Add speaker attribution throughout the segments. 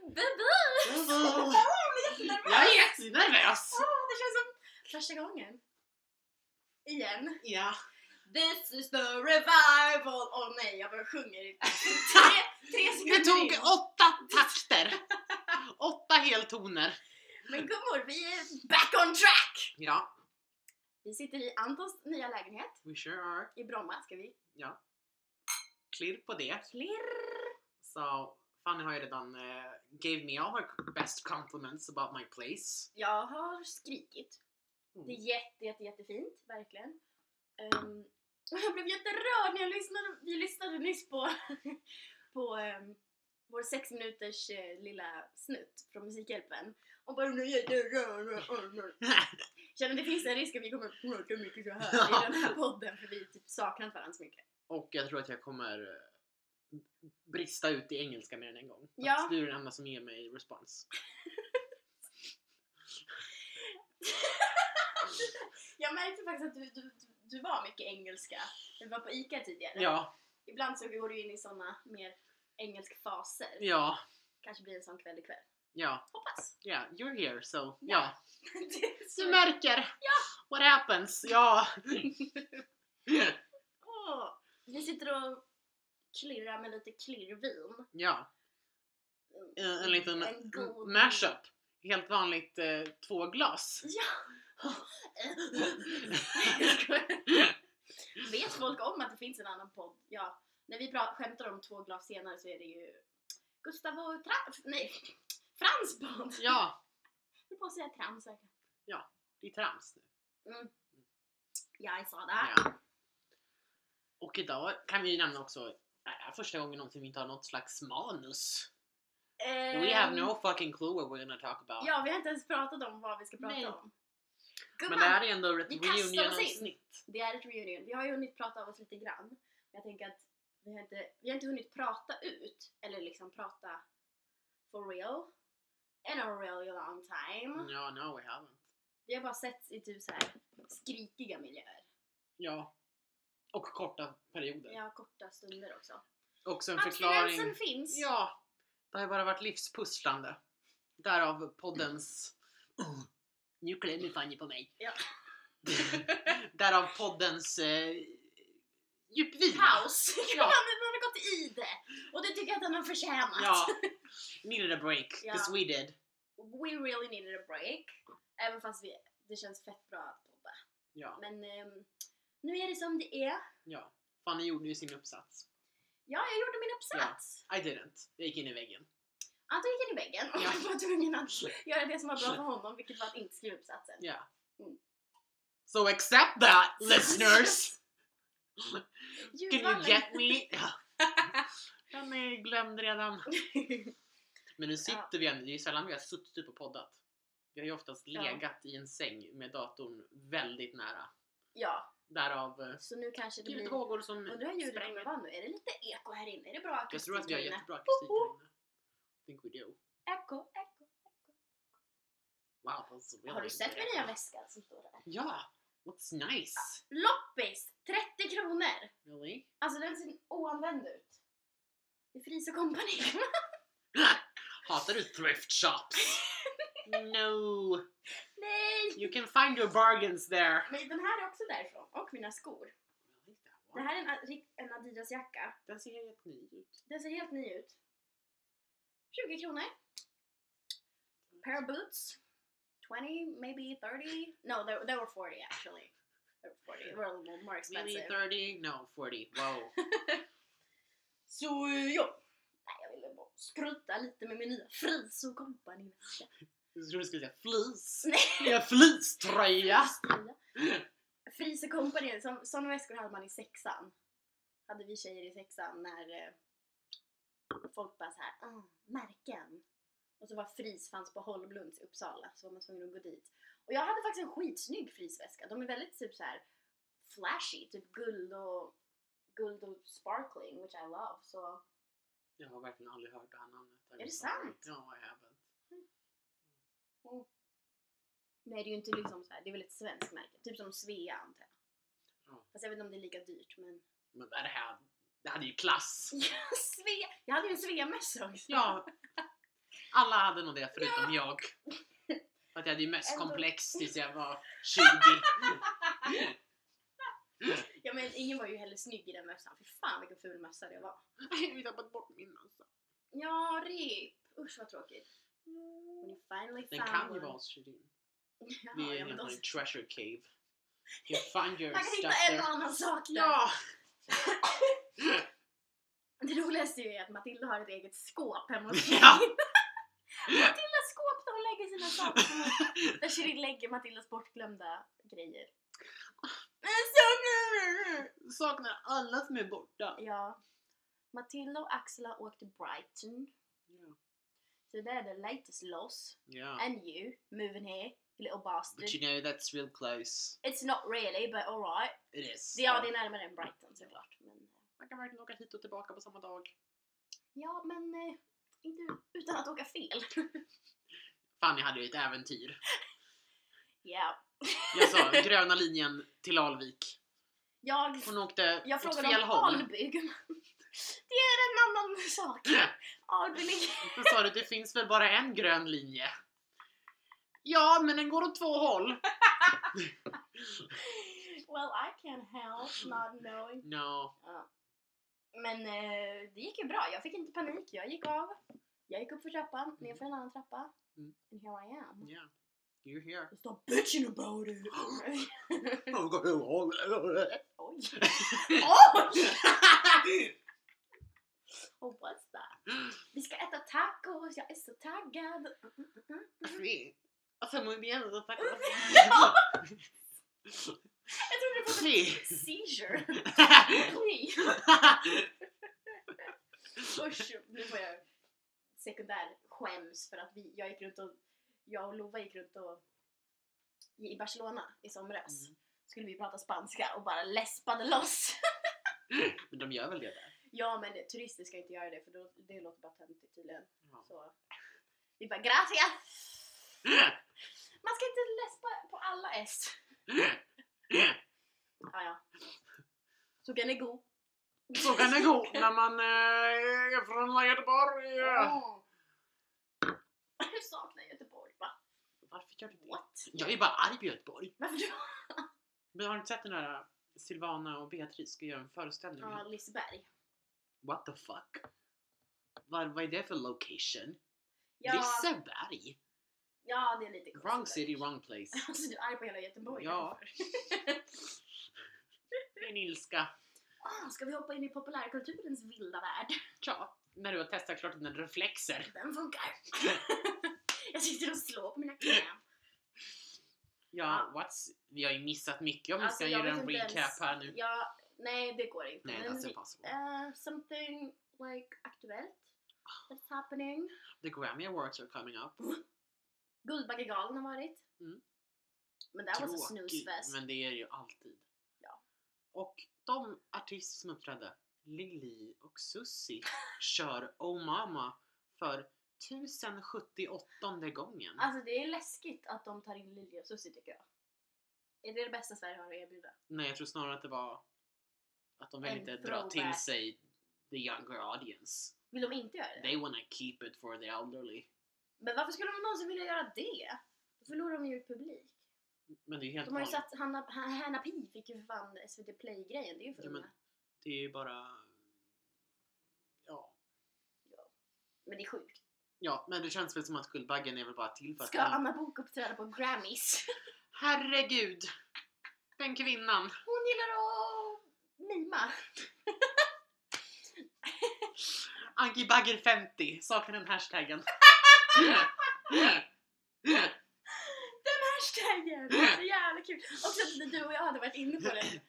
Speaker 1: Bubu!
Speaker 2: Jag är jättenervös!
Speaker 1: Åh, det känns som första gången. Igen.
Speaker 2: Ja.
Speaker 1: This is the revival! Åh nej, jag bara sjunger i tre, tre
Speaker 2: Det
Speaker 1: sekunder
Speaker 2: tog
Speaker 1: in.
Speaker 2: åtta takter! Åtta heltoner.
Speaker 1: Men gummor, vi är back on track!
Speaker 2: Ja,
Speaker 1: Vi sitter i Antons nya lägenhet
Speaker 2: we sure are.
Speaker 1: i Bromma. Ska vi
Speaker 2: Klirr på det.
Speaker 1: klirr?
Speaker 2: Så Fanny har ju redan eh, gave me all her best compliments about my place.
Speaker 1: Jag har skrikit.
Speaker 2: Mm.
Speaker 1: Det är jätte, jätte, jättefint, verkligen. Ehm, och jag blev jätterörd när jag lyssnade, vi lyssnade nyss på, på um, vår sex minuters eh, lilla snutt från Musikhjälpen. Och bara nu är jag jätterörd. Känner det finns en risk att vi kommer prata mycket så här i den här podden för vi typ saknat varandra så mycket.
Speaker 2: Och jag tror att jag kommer eh, brista ut i engelska mer än en gång. Att
Speaker 1: Ja.
Speaker 2: Du är den enda som ger mig respons.
Speaker 1: Jag märkte faktiskt att du, du, du var mycket engelska. Vi var på ICA tidigare.
Speaker 2: Ja,
Speaker 1: Ibland så går du in i såna mer engelsk faser.
Speaker 2: ja,
Speaker 1: kanske blir en sån kväll ikväll.
Speaker 2: ja,
Speaker 1: Hoppas!
Speaker 2: ja, you're here so ja. Du
Speaker 1: Åh,
Speaker 2: märker! What happens? Ja!
Speaker 1: vi sitter och klirrar med lite klirrvin.
Speaker 2: ja, en, en liten
Speaker 1: En god-
Speaker 2: mashup. Helt vanligt eh, två glas.
Speaker 1: Ja! Vet folk om att det finns en annan podd? Ja, när vi pra- skämtar om två glas senare så är det ju Gustav och Tra- nej, Frans podd! Jag
Speaker 2: ja,
Speaker 1: höll på att säga trams verkligen.
Speaker 2: det är trams nu.
Speaker 1: Ja, jag sa det.
Speaker 2: Ja. Och idag kan vi ju nämna också äh, första gången någonsin vi inte har något slags manus. We have
Speaker 1: Ehm,
Speaker 2: no fucking clue what we're gonna talk about.
Speaker 1: Ja, vi har inte ens pratat om vad vi ska prata
Speaker 2: Nej.
Speaker 1: om.
Speaker 2: Men det här är ändå ett
Speaker 1: vi kastar oss in.
Speaker 2: reunion-avsnitt.
Speaker 1: Det är ett reunion. Vi har ju hunnit prata av oss lite grann. Men Jag tänker att vi har inte, vi har inte hunnit prata ut, eller liksom prata for real. In a really long time.
Speaker 2: Ja, no we haven't.
Speaker 1: Vi har bara sett i typ så här skrikiga miljöer.
Speaker 2: Ja. Och korta perioder.
Speaker 1: Vi har korta stunder också.
Speaker 2: Också en förklaring.
Speaker 1: Abstinensen finns!
Speaker 2: Ja, det har ju bara varit livspusslande. Därav poddens... Oh, nu klämmer Fanny på mig.
Speaker 1: Ja.
Speaker 2: Därav poddens eh, djupvila.
Speaker 1: Paus! Ja.
Speaker 2: Ja.
Speaker 1: Man, man har gått i det! Och det tycker jag att han har förtjänat.
Speaker 2: Ja. Needed a break,
Speaker 1: Ja.
Speaker 2: cause we did.
Speaker 1: We really needed a break. Även fast vi, det känns fett bra att podda.
Speaker 2: Ja,
Speaker 1: Men ehm, nu är det som det är.
Speaker 2: ja. Fanny gjorde ju sin uppsats.
Speaker 1: Ja, jag gjorde min uppsats.
Speaker 2: I didn't. Jag gick in i väggen.
Speaker 1: Anton gick in i väggen och
Speaker 2: Ja.
Speaker 1: jag var tvungen att göra det som var bra för honom, vilket var att inte skriva uppsatsen.
Speaker 2: Ja.
Speaker 1: Mm.
Speaker 2: So accept that listeners! Can you
Speaker 1: Ljudvallen-
Speaker 2: get me? Ja. Den är glömd redan. Men nu sitter vi ändå, det är ju sällan vi har suttit upp och poddat. Vi har ju oftast
Speaker 1: Ja.
Speaker 2: legat i en säng med datorn väldigt nära.
Speaker 1: ja,
Speaker 2: Därav eh,
Speaker 1: så nu kanske det
Speaker 2: skrivit
Speaker 1: blir...
Speaker 2: vågor som
Speaker 1: Undrar hur ljudet kommer
Speaker 2: spränger.
Speaker 1: vara nu? Är det lite eko här inne? Är det bra
Speaker 2: Jag
Speaker 1: akustik
Speaker 2: tror att vi har
Speaker 1: här inne?
Speaker 2: jättebra akustik
Speaker 1: Hoho!
Speaker 2: här inne. I think we do.
Speaker 1: Eko, eko.
Speaker 2: Wow, alltså, that's really
Speaker 1: Har du sett min
Speaker 2: great.
Speaker 1: nya väska som står där?
Speaker 2: Ja! What's nice?
Speaker 1: Loppis! 30 kronor!
Speaker 2: Really?
Speaker 1: Alltså den ser oanvänd ut. Det är Fries och kompani.
Speaker 2: Hatar du thrift shops? no!
Speaker 1: Nej!
Speaker 2: You can find your bargains there!
Speaker 1: Men den här är också därifrån. Och mina skor. Det här är en, Ad- en Adidas-jacka.
Speaker 2: Den ser helt ny ut.
Speaker 1: Den ser helt ny ut. 20 kronor. Pair of boots. 20, maybe 30. No, they, they were 40 actually. They were 40. They were a little more
Speaker 2: Maybe
Speaker 1: expensive.
Speaker 2: 30? No, 40. Wow.
Speaker 1: Så ja. Nej, jag ville bara skryta lite med min nya Fris och company
Speaker 2: Jag trodde du skulle säga flis.
Speaker 1: Nej.
Speaker 2: Nya fleecetröja!
Speaker 1: Fris och company, som, sådana väskor hade man i sexan. Hade vi tjejer i sexan när eh, folk bara såhär, ah, märken. Och så var Fris fanns på Holmlunds i Uppsala, så var man tvungen att gå dit. Och jag hade faktiskt en skitsnygg Frisväska. De är väldigt typ så här flashy, typ guld och, guld och sparkling, which I love. Så
Speaker 2: Jag har verkligen aldrig hört det här namnet.
Speaker 1: Är det sant?
Speaker 2: Ja, I haven't.
Speaker 1: nej, det är ju inte liksom så här, det är väl ett svenskt märke. Typ som Svea antar jag.
Speaker 2: Ja.
Speaker 1: Fast jag vet inte om det är lika dyrt men...
Speaker 2: Men det här, det hade ju klass!
Speaker 1: Ja, Svea! Jag hade ju en Svea-mössa också.
Speaker 2: Ja! Alla hade nog det förutom jag. För att jag hade ju mest
Speaker 1: Ändå.
Speaker 2: komplex tills jag var 20.
Speaker 1: Ja men ingen var ju heller snygg i den mössan. Fy fan vilken ful mössa det var.
Speaker 2: Jag har tappat bort min alltså.
Speaker 1: Ja, rip! Usch vad tråkigt. When you finally
Speaker 2: Mm. Den
Speaker 1: found
Speaker 2: kan ju
Speaker 1: one.
Speaker 2: vara hos Shirin.
Speaker 1: Ja,
Speaker 2: Vi är
Speaker 1: ja,
Speaker 2: inne
Speaker 1: men
Speaker 2: på
Speaker 1: då,
Speaker 2: en treasure cave. You find your
Speaker 1: man kan hitta
Speaker 2: stuff
Speaker 1: en
Speaker 2: there.
Speaker 1: och annan sak där.
Speaker 2: Ja!
Speaker 1: Det roligaste är ju att Matilda har ett eget skåp hemma hos
Speaker 2: Ja.
Speaker 1: Shirin. Matildas skåp där hon lägger sina saker. Där Shirin lägger Matildas bortglömda grejer. Men så nu!
Speaker 2: Saknar alla som är borta.
Speaker 1: Ja. Matilda och Axel har åkt till Brighton.
Speaker 2: Ja.
Speaker 1: So they're the latest loss.
Speaker 2: Yeah.
Speaker 1: And you, moving here, you little
Speaker 2: But you
Speaker 1: bastard.
Speaker 2: know that's real close.
Speaker 1: It's not really, but alright.
Speaker 2: It is.
Speaker 1: Ja, det är närmare än Brighton såklart. Men, eh.
Speaker 2: Man kan verkligen åka hit och tillbaka på samma dag.
Speaker 1: ja, men eh, inte utan att åka fel.
Speaker 2: Fanny hade ju ett äventyr.
Speaker 1: Ja.
Speaker 2: Jag sa gröna linjen till Alvik.
Speaker 1: Jag,
Speaker 2: Hon åkte
Speaker 1: jag
Speaker 2: åt
Speaker 1: frågade
Speaker 2: fel
Speaker 1: om
Speaker 2: håll.
Speaker 1: Alby. gumman. Det är en annan sak. Alby ligger...
Speaker 2: Då sa du, det finns väl bara en grön linje? Ja, men den går åt två håll.
Speaker 1: Well, I can help not knowing.
Speaker 2: No.
Speaker 1: Ja. Men eh, det gick ju bra. Jag fick inte panik. Jag gick av. Jag gick upp för trappan, ner för en annan trappa.
Speaker 2: Mm.
Speaker 1: And here I am.
Speaker 2: Yeah. You're here.
Speaker 1: Stop bitching about it! Oj! Oj! Oh, what's that? Vi ska äta tacos, jag är så taggad!
Speaker 2: Alltså muy bien, alltså, tack.
Speaker 1: Jag trodde det var
Speaker 2: Sí.
Speaker 1: en seizure! Oj. Mm. Usch, nu får jag sekundär skäms för att vi, jag gick runt och, jag och Lova gick runt och i Barcelona i somras
Speaker 2: Mm.
Speaker 1: skulle vi prata spanska och bara läspade loss.
Speaker 2: Men de gör väl det där?
Speaker 1: Ja men turister ska inte göra det för då, det låter bara töntigt tydligen.
Speaker 2: Ja.
Speaker 1: Så vi bara gracias! Man ska inte läspa på alla S. Ja, ja. Så kan det gå.
Speaker 2: Så kan det gå när man eh, är från Göteborg.
Speaker 1: Åh. Jag saknar Göteborg va?
Speaker 2: Varför gör du det?
Speaker 1: What?
Speaker 2: Jag är bara arg på Göteborg.
Speaker 1: Varför då?
Speaker 2: Men har du inte sett den där eh, Silvana och Beatrice ska göra en föreställning?
Speaker 1: Ja, Liseberg.
Speaker 2: What the fuck? Vad, vad är det för location?
Speaker 1: Ja,
Speaker 2: Liseberg?
Speaker 1: ja, det är lite konstigt.
Speaker 2: Wrong city, wrong place.
Speaker 1: Alltså du är arg på hela Göteborg?
Speaker 2: Ja.
Speaker 1: därför.
Speaker 2: Min ilska.
Speaker 1: Ah, ska vi hoppa in i populärkulturens vilda värld?
Speaker 2: Ja, när du har testat klart dina reflexer.
Speaker 1: Den funkar! Jag sitter och slår på mina knän.
Speaker 2: Ja, what's... Vi har ju missat mycket om vi
Speaker 1: Ah. Alltså,
Speaker 2: ska
Speaker 1: jag
Speaker 2: göra
Speaker 1: vet
Speaker 2: en
Speaker 1: inte
Speaker 2: recap
Speaker 1: ens-
Speaker 2: här nu.
Speaker 1: Ja, nej det går inte.
Speaker 2: Nej, alltså,
Speaker 1: Men
Speaker 2: that's
Speaker 1: vi-
Speaker 2: impossible.
Speaker 1: eh, something like aktuellt. That's happening.
Speaker 2: The Grammy Awards are coming up.
Speaker 1: Guldbaggegalan har varit.
Speaker 2: Mm.
Speaker 1: Men det här var så
Speaker 2: Tråkig,
Speaker 1: snusfest.
Speaker 2: men det är det ju alltid.
Speaker 1: Ja.
Speaker 2: Och de artister som uppträdde, Lili och Susie, kör Oh Mama för 1078 gången.
Speaker 1: Alltså det är läskigt att de tar in Lili och Susie tycker jag. Är det det bästa Sverige har att erbjuda?
Speaker 2: Nej, jag tror snarare att det var att de vill
Speaker 1: En
Speaker 2: inte dra till
Speaker 1: throwback.
Speaker 2: sig the younger audience.
Speaker 1: Vill de inte göra det?
Speaker 2: They wanna keep it for the elderly.
Speaker 1: Men varför skulle de någonsin vilja göra det? Då förlorar de ju publik.
Speaker 2: Men det är ju helt
Speaker 1: De har ju
Speaker 2: vanligt.
Speaker 1: satt Hanna, Han- Hanna Pi fick ju för fan SVT Play-grejen, det är ju för
Speaker 2: Ja, men-
Speaker 1: unga.
Speaker 2: Det är ju bara... Ja.
Speaker 1: Men det är sjukt.
Speaker 2: ja, men det känns väl som att Guldbaggen är väl bara till för att...
Speaker 1: Ska Anna Book uppträda på Grammys?
Speaker 2: Herregud! Den kvinnan!
Speaker 1: Hon gillar att mima.
Speaker 2: Anki Bagger 50, saknar den hashtaggen.
Speaker 1: Den hashtaggen! Det är så jävla kul! Också att du och jag hade varit inne på den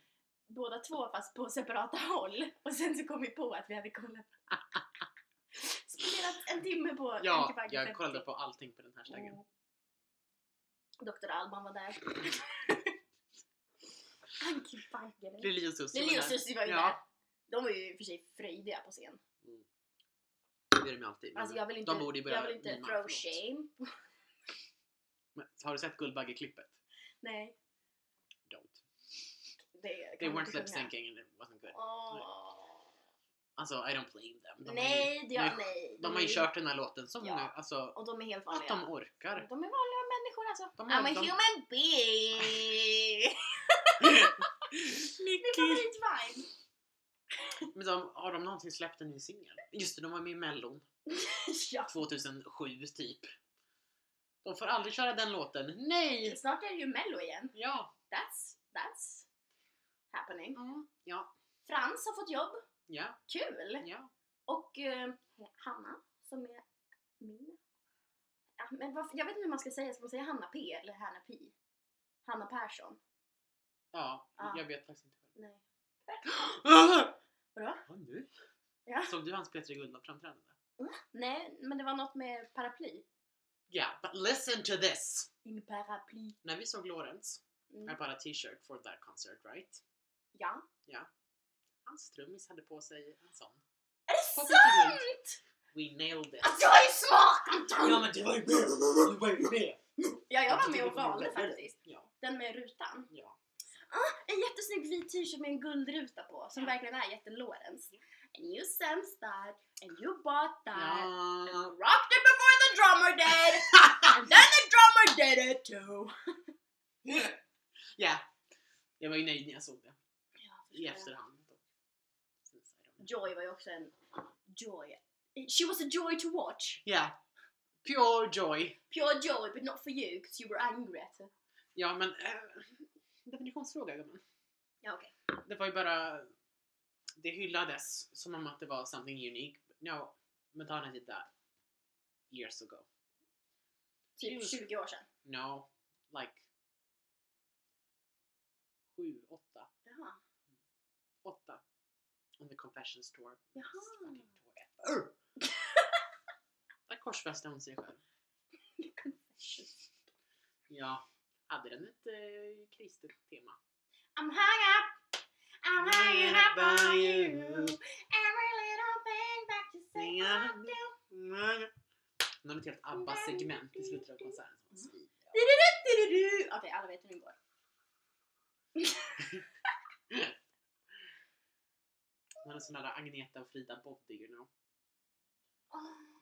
Speaker 1: båda två fast på separata håll och sen så kom vi på att vi hade kollat spenderat en timme på
Speaker 2: ja,
Speaker 1: Anki Bagge
Speaker 2: jag
Speaker 1: 50.
Speaker 2: kollade på allting på den hashtaggen.
Speaker 1: Mm. Dr. Alban var där. Anki Bagge.
Speaker 2: Lili och Susie
Speaker 1: Lili och
Speaker 2: var där.
Speaker 1: Susie var ju
Speaker 2: Ja.
Speaker 1: där. De var ju i och för sig fröjdiga på scen.
Speaker 2: Det är de ju alltid. men
Speaker 1: Alltså jag vill inte,
Speaker 2: de borde ju börja
Speaker 1: jag vill inte
Speaker 2: mima,
Speaker 1: throw
Speaker 2: förlåt.
Speaker 1: shame.
Speaker 2: Men, har du sett Guldbaggeklippet?
Speaker 1: Nej,
Speaker 2: Don't.
Speaker 1: det kan
Speaker 2: They
Speaker 1: man
Speaker 2: weren't
Speaker 1: inte
Speaker 2: lip
Speaker 1: sjunga.
Speaker 2: syncing and it wasn't good.
Speaker 1: Åh.
Speaker 2: Alltså I don't blame them. De Har ju,
Speaker 1: nej, det
Speaker 2: de har
Speaker 1: gör
Speaker 2: ju-
Speaker 1: nej.
Speaker 2: de har ju
Speaker 1: är-
Speaker 2: kört den här låten så
Speaker 1: Ja.
Speaker 2: många, alltså
Speaker 1: Och de är helt
Speaker 2: att
Speaker 1: vanliga.
Speaker 2: de orkar.
Speaker 1: De är vanliga människor alltså.
Speaker 2: De är-
Speaker 1: I'm a
Speaker 2: de-
Speaker 1: human being! Min
Speaker 2: Mickey!
Speaker 1: favoritvibe!
Speaker 2: Men de, har de någonsin släppt en ny singel? Just det, de var med i mellon
Speaker 1: ja.
Speaker 2: 2007 typ. De får aldrig köra den låten. Nej!
Speaker 1: Snart är det ju mello igen.
Speaker 2: Ja.
Speaker 1: That's, that's happening.
Speaker 2: Ja.
Speaker 1: Frans har fått jobb.
Speaker 2: Ja.
Speaker 1: Kul!
Speaker 2: Ja.
Speaker 1: Och eh, Hanna som är min... Ja, men varför, jag vet inte hur man ska säga, ska man säga Hanna P eller Hanna Pi? Hanna Persson?
Speaker 2: Ja.
Speaker 1: Ja.
Speaker 2: Jag vet faktiskt inte.
Speaker 1: Nej. Vadå?
Speaker 2: Vadå? Vad nu?
Speaker 1: Ja.
Speaker 2: Såg du hans Peter Gundlad framträdande?
Speaker 1: Nej, men det var något med paraply.
Speaker 2: Ja, but listen to this!
Speaker 1: In paraply.
Speaker 2: När vi såg Lorentz,
Speaker 1: Mm.
Speaker 2: jag bara t-shirt for that concert right?
Speaker 1: Ja.
Speaker 2: Hans trummis hade på sig en sån.
Speaker 1: Är det
Speaker 2: På
Speaker 1: sant?
Speaker 2: Peter Guld. We nailed it!
Speaker 1: Att jag är smart Anton!
Speaker 2: Ja men du var ju med! Du var ju med!
Speaker 1: Ja, jag
Speaker 2: Jag
Speaker 1: var
Speaker 2: tycker
Speaker 1: med och
Speaker 2: det var
Speaker 1: valde
Speaker 2: väldigt-
Speaker 1: faktiskt.
Speaker 2: Ja,
Speaker 1: Den med rutan.
Speaker 2: ja.
Speaker 1: En jättesnygg vit t-shirt med en guldruta på som
Speaker 2: Ja.
Speaker 1: verkligen är jätten Lorenz.
Speaker 2: Ja.
Speaker 1: And you sensed that, and you bought that.
Speaker 2: ja.
Speaker 1: Rocked it before the drummer did! and then the drummer did it too!
Speaker 2: Ja. Jag var ju nöjd när jag såg det. I
Speaker 1: Ja.
Speaker 2: efterhand. Sen sa de-
Speaker 1: Joy var ju också en... Joy. She was a joy to watch.
Speaker 2: Ja. Pure joy.
Speaker 1: Pure joy, but not for you, because you were angry at her.
Speaker 2: Ja men... Äh, definitionsfråga gumman.
Speaker 1: Ja, okej.
Speaker 2: Det var ju bara... Det hyllades som om att det var something unique. No, Madonna did that years ago.
Speaker 1: Typ
Speaker 2: Just.
Speaker 1: 20 år sedan.
Speaker 2: No, like... Sju, åtta,
Speaker 1: Jaha.
Speaker 2: åtta. On the confessions tour.
Speaker 1: Jaha.
Speaker 2: Fucking tour.
Speaker 1: Ah.
Speaker 2: Urr! Där korsfäste hon sig själv. Ja. Hade den ett eh, kristet tema?
Speaker 1: I'm hung up. I'm hanging up on you. Every little thing that you say I do.
Speaker 2: Hon hade ett helt ABBA-segment i slutet av konserten.
Speaker 1: Du-du-du-du-du. Okej, alla vet hur den går. Mm.
Speaker 2: Hon hade sådana där Agneta och Frida body, you know.
Speaker 1: Oh.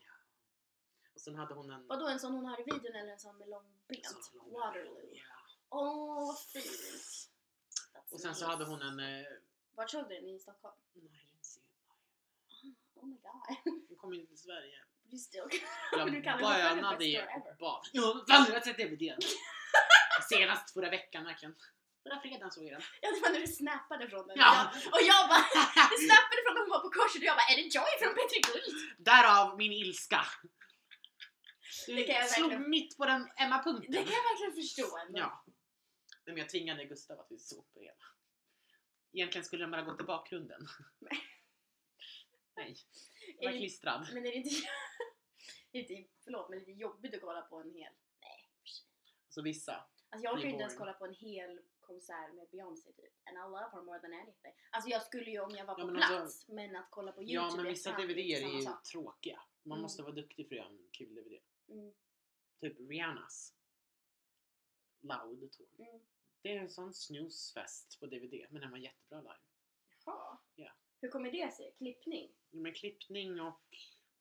Speaker 2: Och sen hade hon en...
Speaker 1: Vadå, en sån hon har i videon eller en sån med
Speaker 2: sån
Speaker 1: långbent?
Speaker 2: lång-
Speaker 1: Waterloo.
Speaker 2: Ja.
Speaker 1: Åh, vad fint. That's
Speaker 2: Och sen
Speaker 1: nice.
Speaker 2: så hade hon en... Eh,
Speaker 1: Vart såg du den? I Stockholm?
Speaker 2: nej, jag ser inte.
Speaker 1: Oh my god.
Speaker 2: hon kom ju inte till Sverige.
Speaker 1: You still... Men du
Speaker 2: Jag
Speaker 1: kallar det för den
Speaker 2: bönade
Speaker 1: bästa
Speaker 2: i
Speaker 1: ever.
Speaker 2: bad. Ja, fan, jag har sett DVDn. Senast förra veckan verkligen. Förra fredagen såg jag den.
Speaker 1: Ja, det var när du snappade från den.
Speaker 2: Ja.
Speaker 1: Jag- Och jag bara... Du snappade från när hon var på korset och jag bara, är det Joy från Petri Guld?
Speaker 2: Därav min ilska.
Speaker 1: Det kan jag
Speaker 2: slog
Speaker 1: verkligen-
Speaker 2: mitt på den Emma-punkten.
Speaker 1: Det kan jag verkligen förstå ändå.
Speaker 2: Ja. Nej, Men jag tvingade Gustav att vi såg på hela. Egentligen skulle den bara gått i bakgrunden. Nej. Den
Speaker 1: Är
Speaker 2: var
Speaker 1: det-
Speaker 2: klistrad.
Speaker 1: Men är det inte, är det inte förlåt, men lite jobbigt att kolla på en hel? Nej.
Speaker 2: Alltså vissa.
Speaker 1: Alltså jag
Speaker 2: Det är
Speaker 1: orkar inte ens kolla
Speaker 2: boring.
Speaker 1: på en hel konsert med Beyoncé typ. And I love her more than anything. Alltså jag skulle ju om jag var på
Speaker 2: Ja, men
Speaker 1: plats,
Speaker 2: alltså-
Speaker 1: men att kolla på Youtube
Speaker 2: Ja men
Speaker 1: i
Speaker 2: vissa
Speaker 1: efterhand är
Speaker 2: DVDer
Speaker 1: inte
Speaker 2: är
Speaker 1: samma
Speaker 2: ju
Speaker 1: sak.
Speaker 2: tråkiga. Man
Speaker 1: Mm.
Speaker 2: måste vara duktig för att göra en kul DVD.
Speaker 1: Mm.
Speaker 2: Typ Rihannas Loud Tour.
Speaker 1: Mm.
Speaker 2: Det är en sån snoozefest på DVD men den var jättebra live.
Speaker 1: Jaha.
Speaker 2: Ja.
Speaker 1: Hur kommer det sig? Klippning?
Speaker 2: Jo, Men klippning och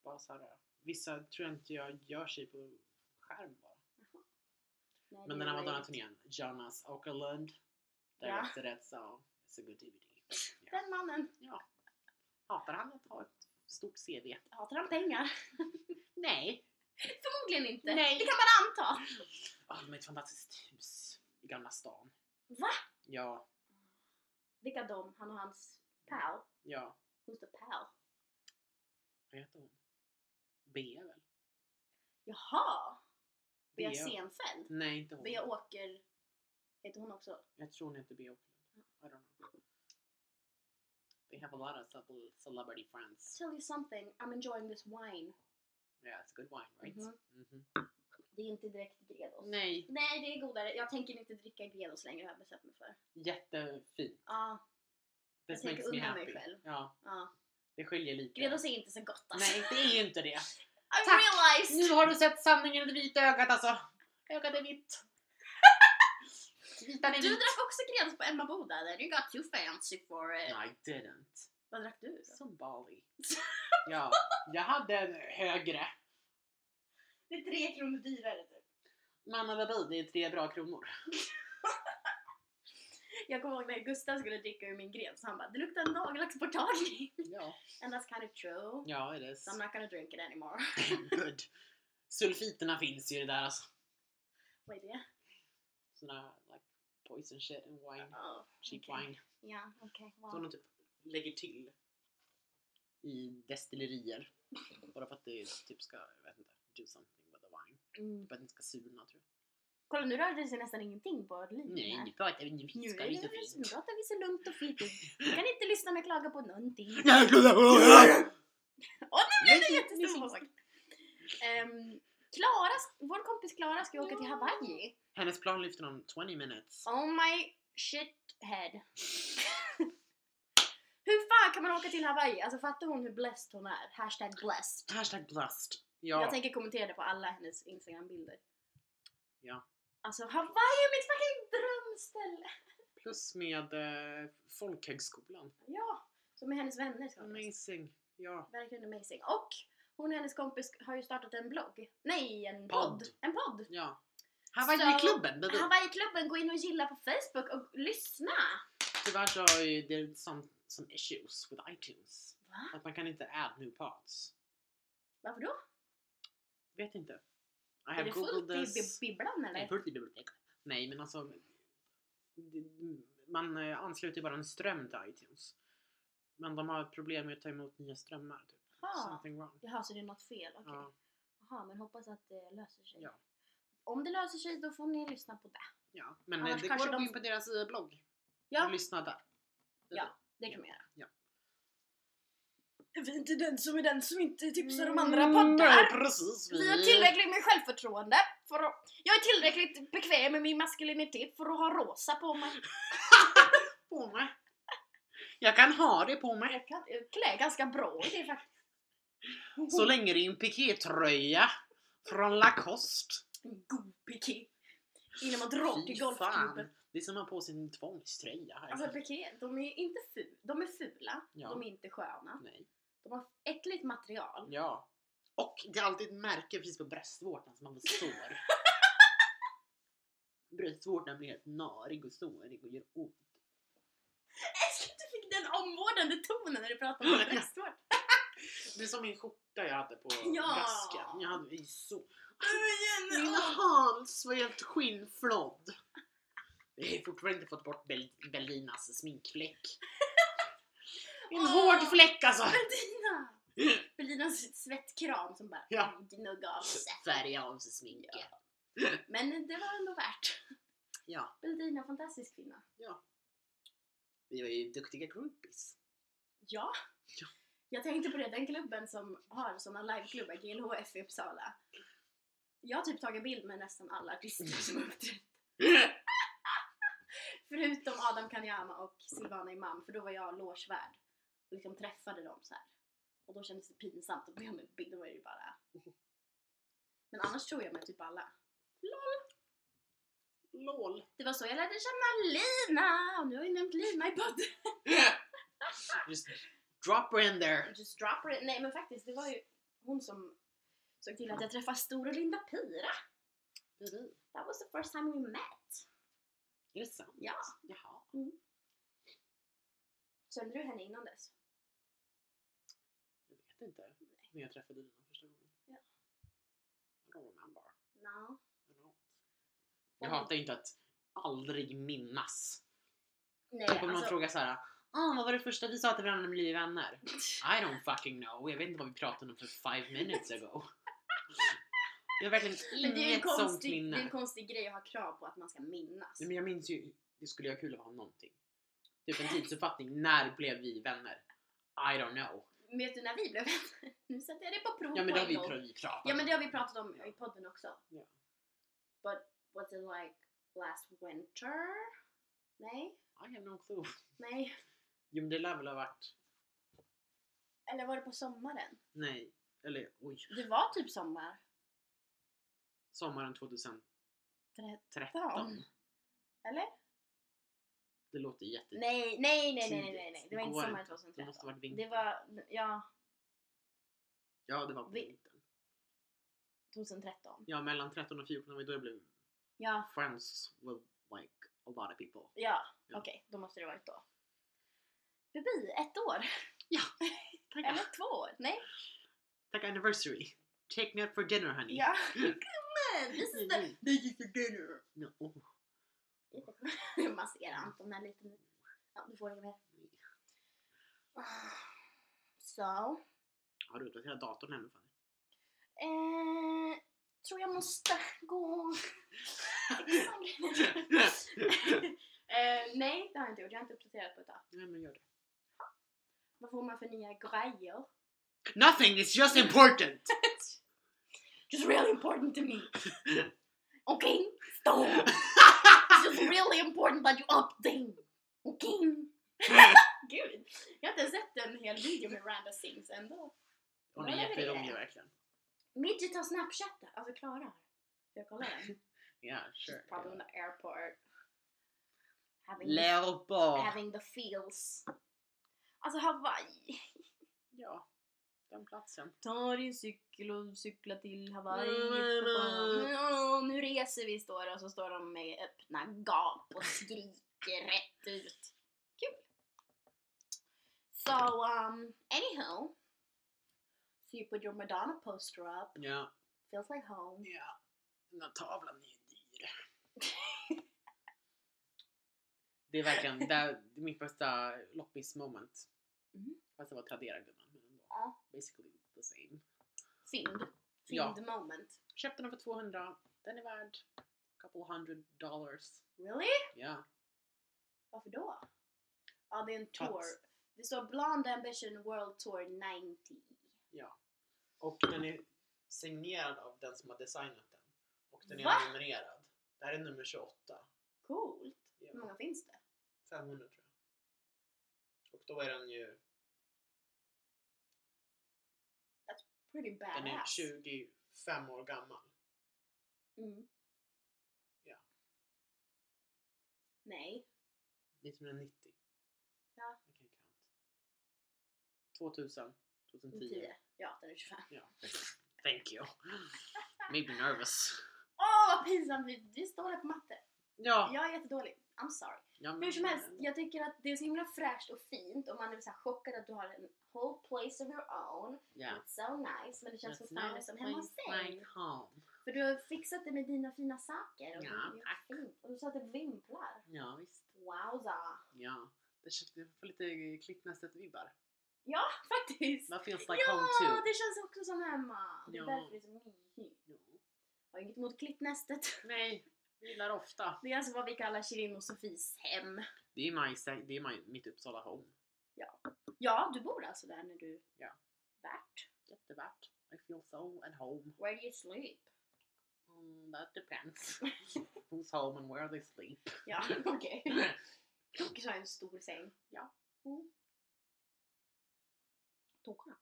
Speaker 2: bara så här, vissa tror jag inte jag gör sig på skärm bara.
Speaker 1: Nej,
Speaker 2: Men
Speaker 1: det
Speaker 2: den här
Speaker 1: gör jag inte.
Speaker 2: Madonna-turnén, Jonas Åkerlund, där
Speaker 1: Ja.
Speaker 2: efter det sa It's a good DVD. Ja.
Speaker 1: Den mannen,
Speaker 2: Hatar han att ha ett stort CV?
Speaker 1: hatar han pengar?
Speaker 2: Nej!
Speaker 1: Förmodligen inte.
Speaker 2: Nej.
Speaker 1: Det kan man anta.
Speaker 2: Oh, de har ett fantastiskt hus i Gamla stan.
Speaker 1: Va?
Speaker 2: Ja,
Speaker 1: Vilka de? Han och hans pal?
Speaker 2: ja.
Speaker 1: Who's the pal?
Speaker 2: Vad heter hon? Bea väl?
Speaker 1: Jaha! Bea
Speaker 2: Bea.
Speaker 1: Senfeld?
Speaker 2: Nej, inte hon.
Speaker 1: Bea Åker... Heter hon också?
Speaker 2: Jag tror hon heter Bea Åkerlund. I don't know. They have a lot of cele- celebrity friends.
Speaker 1: tell you something, I'm enjoying this wine.
Speaker 2: Yeah, it's a good wine, right?
Speaker 1: Mhm.
Speaker 2: Mhm.
Speaker 1: Det är inte direkt Gredos.
Speaker 2: Nej,
Speaker 1: Nej, det är godare. Jag tänker inte dricka Gredos längre har jag bestämt mig för.
Speaker 2: jättefint.
Speaker 1: Ja,
Speaker 2: This
Speaker 1: tänker
Speaker 2: makes me
Speaker 1: unna mig
Speaker 2: happy.
Speaker 1: själv.
Speaker 2: Ja,
Speaker 1: ja.
Speaker 2: det skiljer lite.
Speaker 1: Gredos är inte så gott alltså.
Speaker 2: Nej, det är ju inte det.
Speaker 1: I
Speaker 2: Tack.
Speaker 1: realized!
Speaker 2: Nu har du sett sanningen i det vita ögat alltså. Ögat är vitt. Vitan är
Speaker 1: Du
Speaker 2: vit.
Speaker 1: drack också Gredos på Emma Boda. You got too fancy for it.
Speaker 2: No, I didn't.
Speaker 1: Vad drack du då?
Speaker 2: Som Bali. ja, jag hade en högre.
Speaker 1: Det är tre kronor dyrare typ.
Speaker 2: Mamma vad bi, det är tre bra kronor.
Speaker 1: Jag kommer ihåg när Gustav skulle dricka ur min gren så han bara det luktar nagellacksportagning.
Speaker 2: Ja,
Speaker 1: And that's kind of true.
Speaker 2: ja det är
Speaker 1: So I'm not gonna drink it anymore.
Speaker 2: Good. Sulfiterna finns ju i det där alltså.
Speaker 1: Vad är det?
Speaker 2: Såna like poison shit and wine.
Speaker 1: Oh,
Speaker 2: Cheap
Speaker 1: okej.
Speaker 2: wine.
Speaker 1: Ja, okej. wow.
Speaker 2: Som de typ lägger till i destillerier. Bara för att det typ ska, jag vet inte, do something with the wine.
Speaker 1: Mm.
Speaker 2: För att den ska surna tror jag.
Speaker 1: Kolla nu rörde det sig nästan ingenting på linjen
Speaker 2: Nej,
Speaker 1: här.
Speaker 2: nu pratar vi, nu
Speaker 1: Nu,
Speaker 2: fiskar
Speaker 1: är
Speaker 2: vi
Speaker 1: det,
Speaker 2: så
Speaker 1: nu
Speaker 2: fint.
Speaker 1: pratar vi så lugnt och fint. Du kan inte lyssnarna klaga på någonting. Åh,
Speaker 2: nu
Speaker 1: Det är jättestor sak. Ehm, Klara, sk- vår kompis Klara ska ju åka till Hawaii.
Speaker 2: Hennes plan lyfter om 20 minutes.
Speaker 1: Oh my shit head. hur fan kan man åka till Hawaii? Alltså fattar hon hur blessed hon är? Hashtag blessed.
Speaker 2: Hashtag blast. Ja.
Speaker 1: Jag tänker kommentera det på alla hennes instagrambilder.
Speaker 2: Ja.
Speaker 1: Alltså Hawaii är mitt fucking drömställe!
Speaker 2: Plus med eh, folkhögskolan.
Speaker 1: Ja, som är hennes vänner ska hon
Speaker 2: Amazing. Ja.
Speaker 1: Verkligen amazing. Och hon och hennes kompis har ju startat en blogg. Nej, en podd.
Speaker 2: Podd.
Speaker 1: En podd.
Speaker 2: ja.
Speaker 1: Så-
Speaker 2: Hawaii-klubben! baby.
Speaker 1: Hawaii-klubben, gå in och gilla på Facebook och lyssna!
Speaker 2: Tyvärr så har ju det some, some issues with iTunes.
Speaker 1: Va?
Speaker 2: Att man kan inte add new pods.
Speaker 1: Varför då?
Speaker 2: Vet inte. I
Speaker 1: Är
Speaker 2: have
Speaker 1: det
Speaker 2: googled
Speaker 1: fullt i
Speaker 2: this.
Speaker 1: bi- bibblan
Speaker 2: Nej,
Speaker 1: eller?
Speaker 2: fullt i biblioteket. Nej men alltså. det- Man eh, ansluter ju bara en ström till iTunes. Men de har ett problem med att ta emot nya strömmar. Typ.
Speaker 1: Jaha.
Speaker 2: Something wrong.
Speaker 1: Jaha, så det är något fel? Okej.
Speaker 2: Ja.
Speaker 1: Jaha, men hoppas att det löser sig.
Speaker 2: Ja.
Speaker 1: Om det löser sig då får ni lyssna på det.
Speaker 2: Ja, men
Speaker 1: Annars
Speaker 2: eh, det går
Speaker 1: kanske
Speaker 2: att gå
Speaker 1: de-
Speaker 2: in på deras eh, blogg och
Speaker 1: Ja,
Speaker 2: lyssna där.
Speaker 1: det kan vi göra.
Speaker 2: Ja.
Speaker 1: Är Vi är inte den som är den Typ som inte tipsar om
Speaker 2: Mm,
Speaker 1: andra
Speaker 2: Nej,
Speaker 1: poddar.
Speaker 2: precis.
Speaker 1: Vi har tillräckligt med självförtroende för att... Jag är tillräckligt bekväm med min maskulinitet för att ha rosa på mig.
Speaker 2: på mig. Jag kan ha det på mig.
Speaker 1: Jag kan jag klär ganska bra i det faktiskt.
Speaker 2: Så länge det är en pikétröja från Lacoste.
Speaker 1: En god piké. Innan man drar till golfklubben.
Speaker 2: Det är som att ha på sig en tvångströja. Här.
Speaker 1: Alltså piké, de är inte ful. De är fula.
Speaker 2: Ja.
Speaker 1: De är inte sköna.
Speaker 2: Nej.
Speaker 1: De har äckligt material.
Speaker 2: Ja. Och det är alltid ett märke precis på bröstvårtan som man får sår. Bröstvårtan blir helt narig och sårig och gör ont.
Speaker 1: Jag älskar att du fick den omvårdande tonen när du pratade
Speaker 2: Mm,
Speaker 1: om bröstvård.
Speaker 2: Det är som min skjorta jag hade på
Speaker 1: Ja.
Speaker 2: väskan. Jag hade i så
Speaker 1: Igen!
Speaker 2: Min hals var helt skinnflådd. Jag har fortfarande inte fått bort Bel- Bellinas sminkfläck. En
Speaker 1: Åh.
Speaker 2: hård fläck alltså!
Speaker 1: Bettina! Bettinas svettkram som bara
Speaker 2: Ja.
Speaker 1: gnugga av sig.
Speaker 2: Färga av sig sminket. Ja.
Speaker 1: Men det var ändå värt. Bettina, fantastisk kvinna.
Speaker 2: Vi var ju duktiga groupies.
Speaker 1: Ja.
Speaker 2: Ja.
Speaker 1: Jag tänkte på det, den klubben som har såna liveklubbar, GLHF i Uppsala. Jag har typ tagit bild med nästan alla artister som har uppträtt. Förutom Adam Kanyama och Silvana Imam, för då var jag logemvärd och liksom träffade dem så här. Och då kändes det pinsamt att be om en bild, då var det ju bara... Men annars tror jag med typ alla.
Speaker 2: LOL.
Speaker 1: Det var så jag lärde känna Lina! Och nu har jag nämnt Lina i podden.
Speaker 2: Just drop her in there.
Speaker 1: Just drop her in. Nej men faktiskt, det var ju hon som såg till att jag träffade Stor och Linda Pira. That was the first time we met.
Speaker 2: Är det sant?
Speaker 1: Ja.
Speaker 2: Jaha.
Speaker 1: Kände du henne innan dess?
Speaker 2: Jag vet inte. När jag träffade Lina första gången.
Speaker 1: Ja.
Speaker 2: I don't remember.
Speaker 1: No.
Speaker 2: I don't. Jag
Speaker 1: Mm.
Speaker 2: hatar ju inte att aldrig minnas.
Speaker 1: Nej, alltså-
Speaker 2: Typ om någon frågar såhär ah, vad var det första vi sa till varandra när vi blev vänner? I don't fucking know, jag vet inte vad vi pratade om för five minutes ago. Jag har verkligen
Speaker 1: Men det är, en
Speaker 2: inget Mm, sånt
Speaker 1: konstig, det är en
Speaker 2: minne.
Speaker 1: konstig grej att ha krav på att man ska minnas.
Speaker 2: Nej, men jag minns ju, det skulle jag kul att ha någonting. Typ en tidsuppfattning, när blev vi vänner? I don't know.
Speaker 1: Men Vet du när vi blev vänner? Nu sätter jag det på prov
Speaker 2: Ja men
Speaker 1: på
Speaker 2: det har
Speaker 1: en
Speaker 2: vi
Speaker 1: gång.
Speaker 2: pr- pratat
Speaker 1: Ja men det har vi
Speaker 2: om.
Speaker 1: pratat om i podden också.
Speaker 2: Ja.
Speaker 1: But was it like last winter? Nej?
Speaker 2: I have no clue.
Speaker 1: Nej?
Speaker 2: Jo men det lär väl ha varit,
Speaker 1: Eller var det på sommaren?
Speaker 2: nej, eller oj,
Speaker 1: Det var typ sommar.
Speaker 2: sommaren 2013.
Speaker 1: Eller?
Speaker 2: Det låter jätte...
Speaker 1: Nej, nej, nej, nej, nej, nej, nej.
Speaker 2: Tidigt.
Speaker 1: Det var
Speaker 2: Det
Speaker 1: inte
Speaker 2: går
Speaker 1: sommaren
Speaker 2: inte. Det måste
Speaker 1: 2013.
Speaker 2: varit vinter.
Speaker 1: Det var, ja,
Speaker 2: Ja, det var på
Speaker 1: Vi-
Speaker 2: vintern.
Speaker 1: 2013.
Speaker 2: Ja, mellan 13 och 14 var ju då jag blev
Speaker 1: Ja,
Speaker 2: friends with like a lot of people.
Speaker 1: ja,
Speaker 2: Ja.
Speaker 1: okej, då måste det varit då. Bubi, ett år.
Speaker 2: Tack,
Speaker 1: Eller två år. Nej.
Speaker 2: tack anniversary. Take me out for dinner honey.
Speaker 1: Ja. Gumman! This is the... This is the dinner.
Speaker 2: No, oh,
Speaker 1: Massera Anton här lite nu. Ja, du får det med.
Speaker 2: nej.
Speaker 1: Ah, Så.
Speaker 2: Har du uppdaterat datorn ännu Fanny?
Speaker 1: Eh, tror jag måste gå. eh, nej, det har jag inte gjort. Jag har inte uppdaterat på ett tag.
Speaker 2: Nej men gör det.
Speaker 1: Vad får man för nya grejer?
Speaker 2: Nothing is just important!
Speaker 1: Just really important to me. Okay, stop. It's just really important that you update. Okay. Gud, jag har inte sett en hel video med Randa Sings ändå.
Speaker 2: Hon är
Speaker 1: Ja, det är det.
Speaker 2: jätterolig verkligen.
Speaker 1: Midget har snapchattat, alltså Klara. Får jag kolla den?
Speaker 2: Ja, sure.
Speaker 1: She's probably on the airport. Having,
Speaker 2: Leopard.
Speaker 1: having the feels. Alltså Hawaii.
Speaker 2: Ja, den platsen.
Speaker 1: Ta din cykel och cykla till Hawaii.
Speaker 2: Nej,
Speaker 1: för
Speaker 2: nej,
Speaker 1: fan. Mm,
Speaker 2: nej.
Speaker 1: Ja, nu reser vi står det, och så står de med öppna gap och skriker rätt ut. Kul! So, um, anyhow. So you put your Madonna poster up.
Speaker 2: Ja.
Speaker 1: Feels like home.
Speaker 2: ja. Den där tavlan är ju dyr. det är verkligen det är mitt bästa loppis moment.
Speaker 1: Mhm.
Speaker 2: Fast det var Tradera gumman. men ändå.
Speaker 1: Ja.
Speaker 2: Basically the same.
Speaker 1: Fynd. Fynd
Speaker 2: Ja.
Speaker 1: moment.
Speaker 2: Köpte den för 200. Den är värd couple hundred dollars.
Speaker 1: Really?
Speaker 2: Ja.
Speaker 1: Varför då? Ja, det är en
Speaker 2: Att-
Speaker 1: tour. Det står Blonde Ambition World Tour 90.
Speaker 2: Och den är signerad av den som har designat den. Och den är
Speaker 1: Va?
Speaker 2: numrerad. Det här är nummer 28.
Speaker 1: Coolt!
Speaker 2: Ja.
Speaker 1: Hur många finns det?
Speaker 2: 500 tror jag. Och då är den ju
Speaker 1: Pretty badass.
Speaker 2: den är 25 år gammal.
Speaker 1: Mm.
Speaker 2: Ja.
Speaker 1: Nej.
Speaker 2: 1990.
Speaker 1: Ja.
Speaker 2: Jag kan count. 2000. 2010.
Speaker 1: 10. Ja, den är 25.
Speaker 2: Ja. Thank you. Made me nervous.
Speaker 1: Åh vad pinsamt! Vi, vi står där på matte.
Speaker 2: Ja. Mm.
Speaker 1: Jag är jättedålig. I'm sorry.
Speaker 2: ja men-
Speaker 1: Hur som helst, jag tycker att det är så himla fräscht och fint och man är så här chockad att du har en whole place of your own.
Speaker 2: Ja.
Speaker 1: It's so nice. Men det känns
Speaker 2: That's
Speaker 1: fortfarande
Speaker 2: nice
Speaker 1: som hemma hos
Speaker 2: place
Speaker 1: dig.
Speaker 2: like home.
Speaker 1: För du har fixat det med dina fina saker. Och
Speaker 2: Ja,
Speaker 1: du,
Speaker 2: tack.
Speaker 1: Fint. Och du sa att det vimplar.
Speaker 2: Ja, visst.
Speaker 1: Wowza!
Speaker 2: Ja. Det känns det får lite Klippnästet-vibbar.
Speaker 1: Ja, faktiskt!
Speaker 2: That feels like
Speaker 1: ja,
Speaker 2: home too.
Speaker 1: det känns också som hemma. Det är
Speaker 2: Ja.
Speaker 1: därför det är så mysigt. Har inget emot klippnästet.
Speaker 2: Nej, vi gillar ofta.
Speaker 1: Det är alltså vad vi kallar Shirin och Sofis hem.
Speaker 2: Det är, my, det är my, mitt Uppsala home.
Speaker 1: Ja, du bor alltså där när du...
Speaker 2: Ja.
Speaker 1: Värt.
Speaker 2: Jättevärt. I feel so at home.
Speaker 1: Where do you sleep?
Speaker 2: Mm, that depends. Who's home and where they sleep.
Speaker 1: Ja, okej. Tokis har en stor säng.
Speaker 2: Ja.
Speaker 1: Mm. Toka.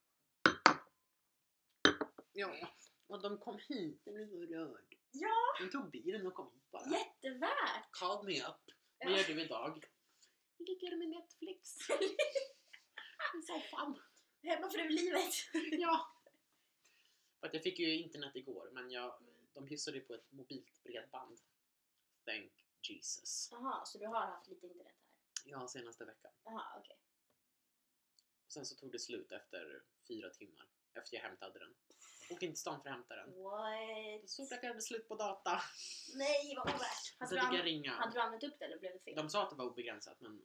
Speaker 2: ja, och de kom hit. Jag blev så rörd.
Speaker 1: Ja,
Speaker 2: De tog bilen och kom hit bara.
Speaker 1: jättevärt!
Speaker 2: Called me up.
Speaker 1: Ja.
Speaker 2: Vad gör du idag? Jag ligger med Netflix. I soffan.
Speaker 1: Hemmafrulivet!
Speaker 2: Ja. För att jag fick ju internet igår men jag, de hyssade ju på ett mobilt bredband. Thank Jesus.
Speaker 1: Jaha, så du har haft lite internet här?
Speaker 2: Ja, senaste veckan.
Speaker 1: Jaha, okej.
Speaker 2: Och sen så tog det slut efter fyra timmar. Efter jag hämtade den. Åkte inte till stan för att hämta den.
Speaker 1: What?
Speaker 2: Jag såg att jag hade slut på data.
Speaker 1: Nej, vad ovärt!
Speaker 2: Så
Speaker 1: Hade, du
Speaker 2: fick jag
Speaker 1: använt-
Speaker 2: ringa.
Speaker 1: hade du använt upp det eller blev det fel?
Speaker 2: De sa att det var obegränsat men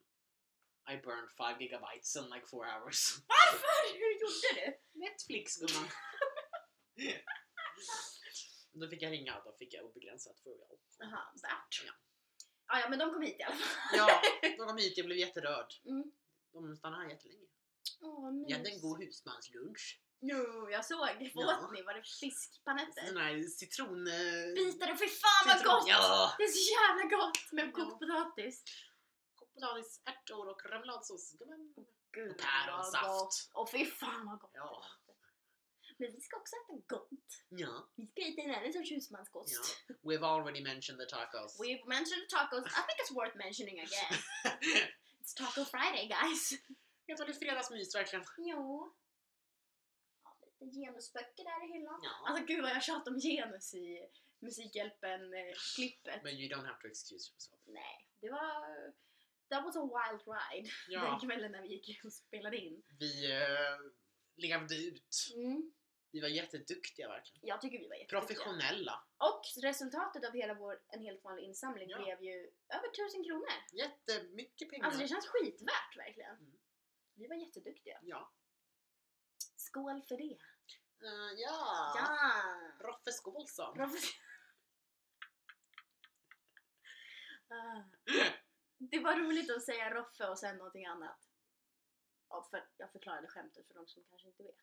Speaker 2: I burned 5 gigabytes in like 4 hours.
Speaker 1: Varför? Hur gjorde du?
Speaker 2: Netflix gumman. då fick jag ringa och då fick jag obegränsat for real.
Speaker 1: Jaha, värt.
Speaker 2: Ja.
Speaker 1: Ah, ja, men de kom hit i alla fall.
Speaker 2: Ja, de kom hit, jag blev jätterörd.
Speaker 1: Mm.
Speaker 2: De stannade här jättelänge.
Speaker 1: Åh,
Speaker 2: Jag hade en
Speaker 1: mys.
Speaker 2: god husmanslunch.
Speaker 1: Jo, jag såg. Vad
Speaker 2: Ja.
Speaker 1: åt ni? Var det fiskpanetter?
Speaker 2: Sådana här citron... eh,
Speaker 1: Bitar och fy fan vad
Speaker 2: citron-
Speaker 1: gott!
Speaker 2: Ja!
Speaker 1: Det är så jävla gott med kokt
Speaker 2: Ja.
Speaker 1: potatis.
Speaker 2: Kokt potatis, ärtor och remouladsås. Gumman.
Speaker 1: Gud,
Speaker 2: Päronsaft.
Speaker 1: Och fy fan vad gott
Speaker 2: Ja.
Speaker 1: det låter. Men vi ska också äta gott.
Speaker 2: Ja.
Speaker 1: Vi ska äta en annan sorts husmanskost.
Speaker 2: ja. We've already mentioned the tacos.
Speaker 1: We've mentioned tacos. I think it's worth mentioning again. It's taco friday guys.
Speaker 2: Jag tar lite fredagsmys verkligen.
Speaker 1: Jo. Ja, lite genusböcker där i hyllan.
Speaker 2: Ja.
Speaker 1: Alltså gud vad jag tjatar om genus i Musikhjälpen-klippet.
Speaker 2: Men you don't have to excuse yourself.
Speaker 1: Nej, det var... That was a wild ride den
Speaker 2: Ja,
Speaker 1: kvällen när vi gick och spelade in.
Speaker 2: vi eh, levde ut.
Speaker 1: Mm.
Speaker 2: Vi var jätteduktiga verkligen.
Speaker 1: Jag tycker vi var jätteduktiga.
Speaker 2: Professionella.
Speaker 1: Och resultatet av hela vår en helt vanlig insamling
Speaker 2: Ja.
Speaker 1: blev ju över 1000 kronor.
Speaker 2: Jättemycket pengar.
Speaker 1: Alltså det känns skitvärt verkligen.
Speaker 2: Mm.
Speaker 1: Vi var jätteduktiga.
Speaker 2: Ja.
Speaker 1: Skål för det!
Speaker 2: Eh, ja.
Speaker 1: Ja!
Speaker 2: Roffe Skålsson.
Speaker 1: Proffs- Ah. Det var roligt att säga Roffe och sen någonting annat. Ja, för, jag förklarade skämtet för de som kanske inte vet.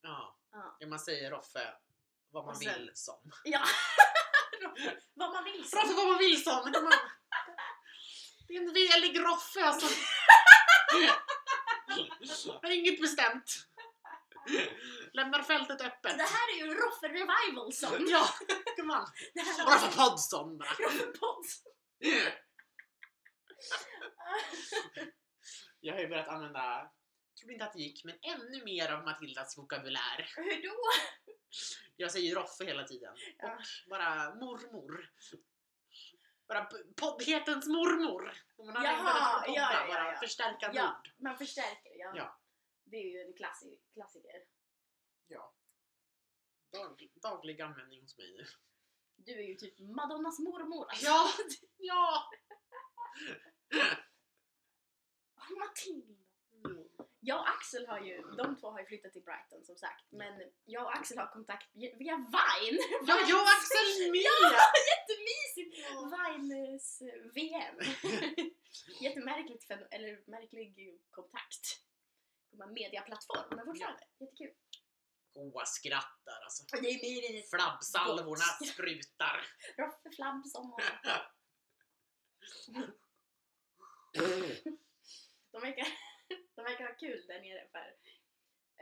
Speaker 2: Ja.
Speaker 1: Ja.
Speaker 2: ja, man säger Roffe vad man
Speaker 1: Och sen-
Speaker 2: vill som.
Speaker 1: Ja! Roffe, Vad man vill säga.
Speaker 2: Roffe vad man vill som! Det är man- Det är en velig Roffe alltså. Har inget bestämt. Lämnar fältet öppet.
Speaker 1: Det här är ju Roffe Revival Song!
Speaker 2: Ja, kom an.
Speaker 1: Det här var
Speaker 2: Roffe Podson bara.
Speaker 1: Roffe Pods!
Speaker 2: Jag har ju börjat använda, tror inte att det gick, men ännu mer av Matildas vokabulär.
Speaker 1: Hur då?
Speaker 2: Jag säger Roffe hela tiden.
Speaker 1: Ja.
Speaker 2: Och bara mormor. Bara p- poddhetens mormor. Om Man
Speaker 1: Jaha,
Speaker 2: använder det för
Speaker 1: ja, ja,
Speaker 2: poddar,
Speaker 1: ja,
Speaker 2: bara
Speaker 1: ja.
Speaker 2: förstärkande
Speaker 1: Ja.
Speaker 2: ord.
Speaker 1: Man förstärker ja.
Speaker 2: Ja.
Speaker 1: Det är ju en klassi- klassiker.
Speaker 2: Ja. Dag, daglig användning hos mig nu.
Speaker 1: Du är ju typ Madonnas mormor.
Speaker 2: Ja! Ja!
Speaker 1: Ah, Matilda! Mm. Jag och Axel har ju, de två har ju flyttat till Brighton som sagt. Men jag och Axel har kontakt via via Vine.
Speaker 2: Ja, jag och Axel med!
Speaker 1: Mysigt! Vines eh, VM. Jättemärkligt, fen- eller märklig kontakt. Man mediaplattform, men fortfarande jättekul.
Speaker 2: Goa skrattar alltså.
Speaker 1: Det är mer
Speaker 2: Flabbsalvorna sprutar.
Speaker 1: Roffe Flabsson och... De verkar, de verkar ha kul där nere för